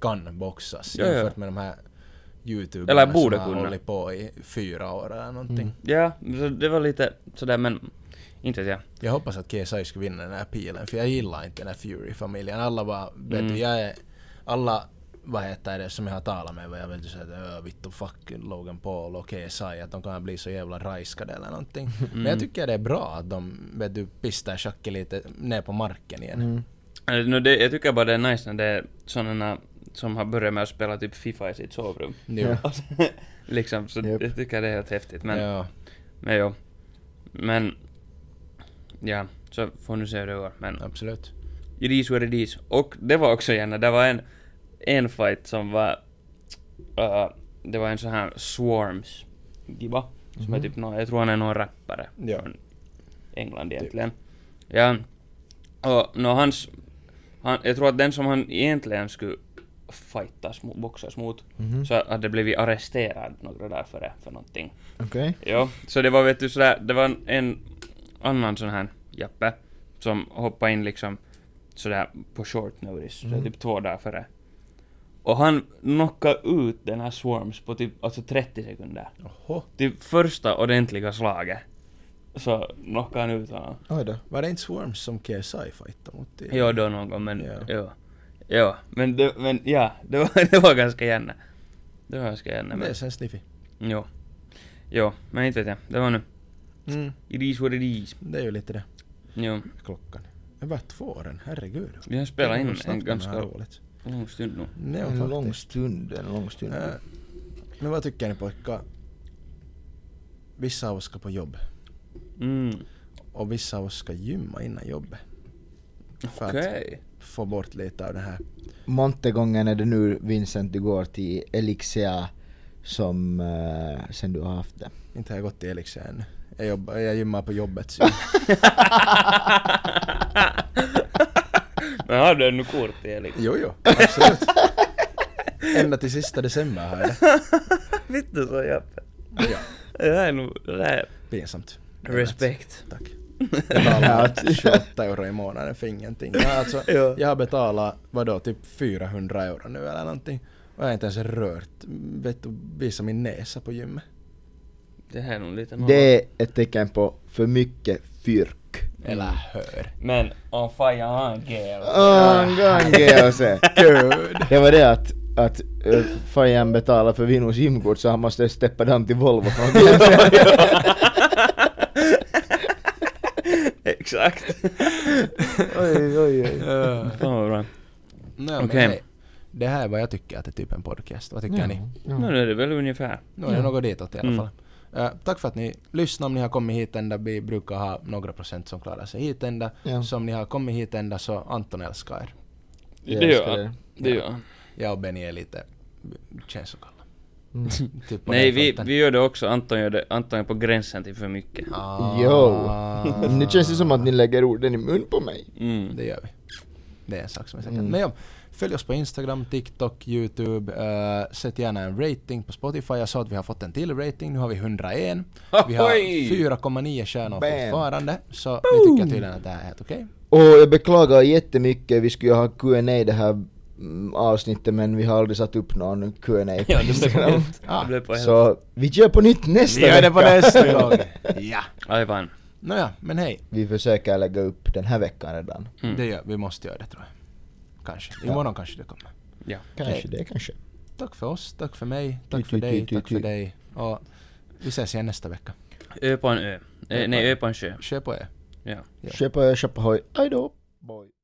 kan boxas
Ja, ja.
jämfört med de här youtuberna
Eller borde
som
kunna.
har hållit på i fyra år eller någonting.
Ja, så det var lite sådär, men... Inte vet jag.
Jag hoppas att KSI skulle vinna den här pilen för jag gillar inte den här Fury-familjen. Alla bara, vet
Mm.
du, jag är, alla vad heter det som jag har talat med, vad jag vill säga att "Öh, vittu fuck Logan Paul och KSI, att de kan bli så jävla raiskade eller någonting.
Mm.
Men jag tycker det är bra att de, vet du, pistar Chucky lite ner på marken igen.
Eh, nå, det, jag tycker bara det är nice när det är sådana som har börjat med att spela typ Fifa i sitt sovrum.
Jo.
Och så- liksom, så
Japp.
jag tycker det är helt häftigt. Men,
Ja.
men jo. Men, ja, så får nu se hur det går. Men
Absolut.
it is what it is. Och det var också gärna, det var en, en fight som var, eh, det var en sån här Swarms gibba. Som är typ nå jag tror han är någon rappare
Ja.
från England egentligen. Ja. Och nå hans, han, jag tror att den som han egentligen skulle fightas, mot- boxas mot, så hade blivit arresterad några dagar före för någonting.
Okej.
Ja, så det var vet du sådär, det var en- en annan sån här Jappe som hoppade in liksom sådär på short notice, så
Mm.
typ två dagar före. Och han knockade ut den här Swarms på typ alltså 30 sekunder.
Oho.
Typ första ordentliga slaget. Så knockade han ut honom.
Oj då.
Var det inte Swarms som KSI fightade mot? det?
Ja, då någon gång, men
Ja.
ja. Ja, men, det, men ja, det var, det var ganska gärna. Det var ganska gärna,
Det
men
är sen sniffy.
jo. Jo, men inte vet jag. Det var nu.
Mm.
It is what it is.
Det är ju lite det.
Jo.
Klockan. Över två år, än, herregud.
Vi har spelat
Det är
in
nog snabbt
en
med det här
ganska
roligt.
lång stund nu.
Nej,
En
faktiskt.
lång stund, en lång stund.
Äh, Men vad tycker ni pojkar? Vissa av oss ska på jobb
Mm.
och vissa av oss ska gymma innan jobbet. För
Okej.
att få bort lite av det här.
Monte gången är det nu Vincent du går till Elixia som eh, sen du har haft det.
Inte har jag gått till Elixia ännu. Jag, jobbar, jag gymmar på jobbet. Så.
Men har du ännu kort i liksom?
jo, jo, absolut. Ända till sista december har jag det.
Vittu så Jappe.
Ja,
Det här är nog... Det här...
pinsamt. Jag vet.
Respekt. alltså,
Tack. Jag betalar 28 euro i månaden för ingenting. Jag, alltså,
Ja.
jag har betalat, vadå, typ 400 euro nu eller någonting. Och jag har inte ens rört, vet du, visat min näsa på gymmet.
Det här är nog lite nollat.
Det är ett tecken på för mycket fyrk.
Eller hör.
Men on fire on girl.
Åh, en gång GHC. alltså. Det var det att, att uh, Fajan betalade för Vinos gymkort så han måste steppa down till Volvo från
Exakt.
Oj, oj, oj.
Ja.
Fan vad bra.
Nej, men
Okej.
hej. Det här är vad jag tycker att det är typ en podcast. Vad tycker ni?
Nu är det väl ungefär.
Nu är det något ditåt i alla
Mm.
fall. Eh, tack för att ni lyssnar. Om ni har kommit hit ända, vi brukar ha några procent som klarar sig hit ända.
Ja.
Så om ni har kommit hit ända så Anton älskar er.
Det gör
älskar
han.
er.
Det gör han.
Jag och Benny är lite känslokalla. typ på
Nej,
den
vi,
fronten.
vi gör det också. Anton gör det. Anton är på gränsen till för mycket.
Ah,
Jo! nu känns det som att ni lägger orden i mun på mig.
Mm.
Det gör vi. Det är en sak som är säker.
Mm.
Men ja, följ oss på Instagram, TikTok, YouTube. Uh, sätt gärna en rating på Spotify. Jag sa att vi har fått en till rating. Nu har vi 101. Vi har
Ahoy!
4,9 stjärnor
Bam.
fortfarande. Så ni tycker tydligen att det här är helt okej.
Och jag beklagar jättemycket, vi skulle ju ha Q&A det här mm, avsnittet men vi har aldrig satt upp någon Q&A på
Ja, det blev på
Instagram.
helt. Det blev på helt.
Så vi kör på nytt nästa
Vi gör det på
vecka.
nästa gång. Ja.
Aivan.
Nåja, men hej.
Vi försöker lägga upp den här veckan redan.
Mm.
Det gör, vi måste göra det tror jag. Kanske. Imorgon kanske det kommer.
Ja.
Kanske det, kanske.
Tack för oss, tack för mig,
Ty,
tack för
ty,
dig,
ty, ty,
tack för
ty.
dig. Och vi ses igen nästa vecka.
Ö på en ö. Eh, nej, ö på en sjö.
Kör på er.
Ja.
Ja.
Köp och köp hoj. Aj då! Boy.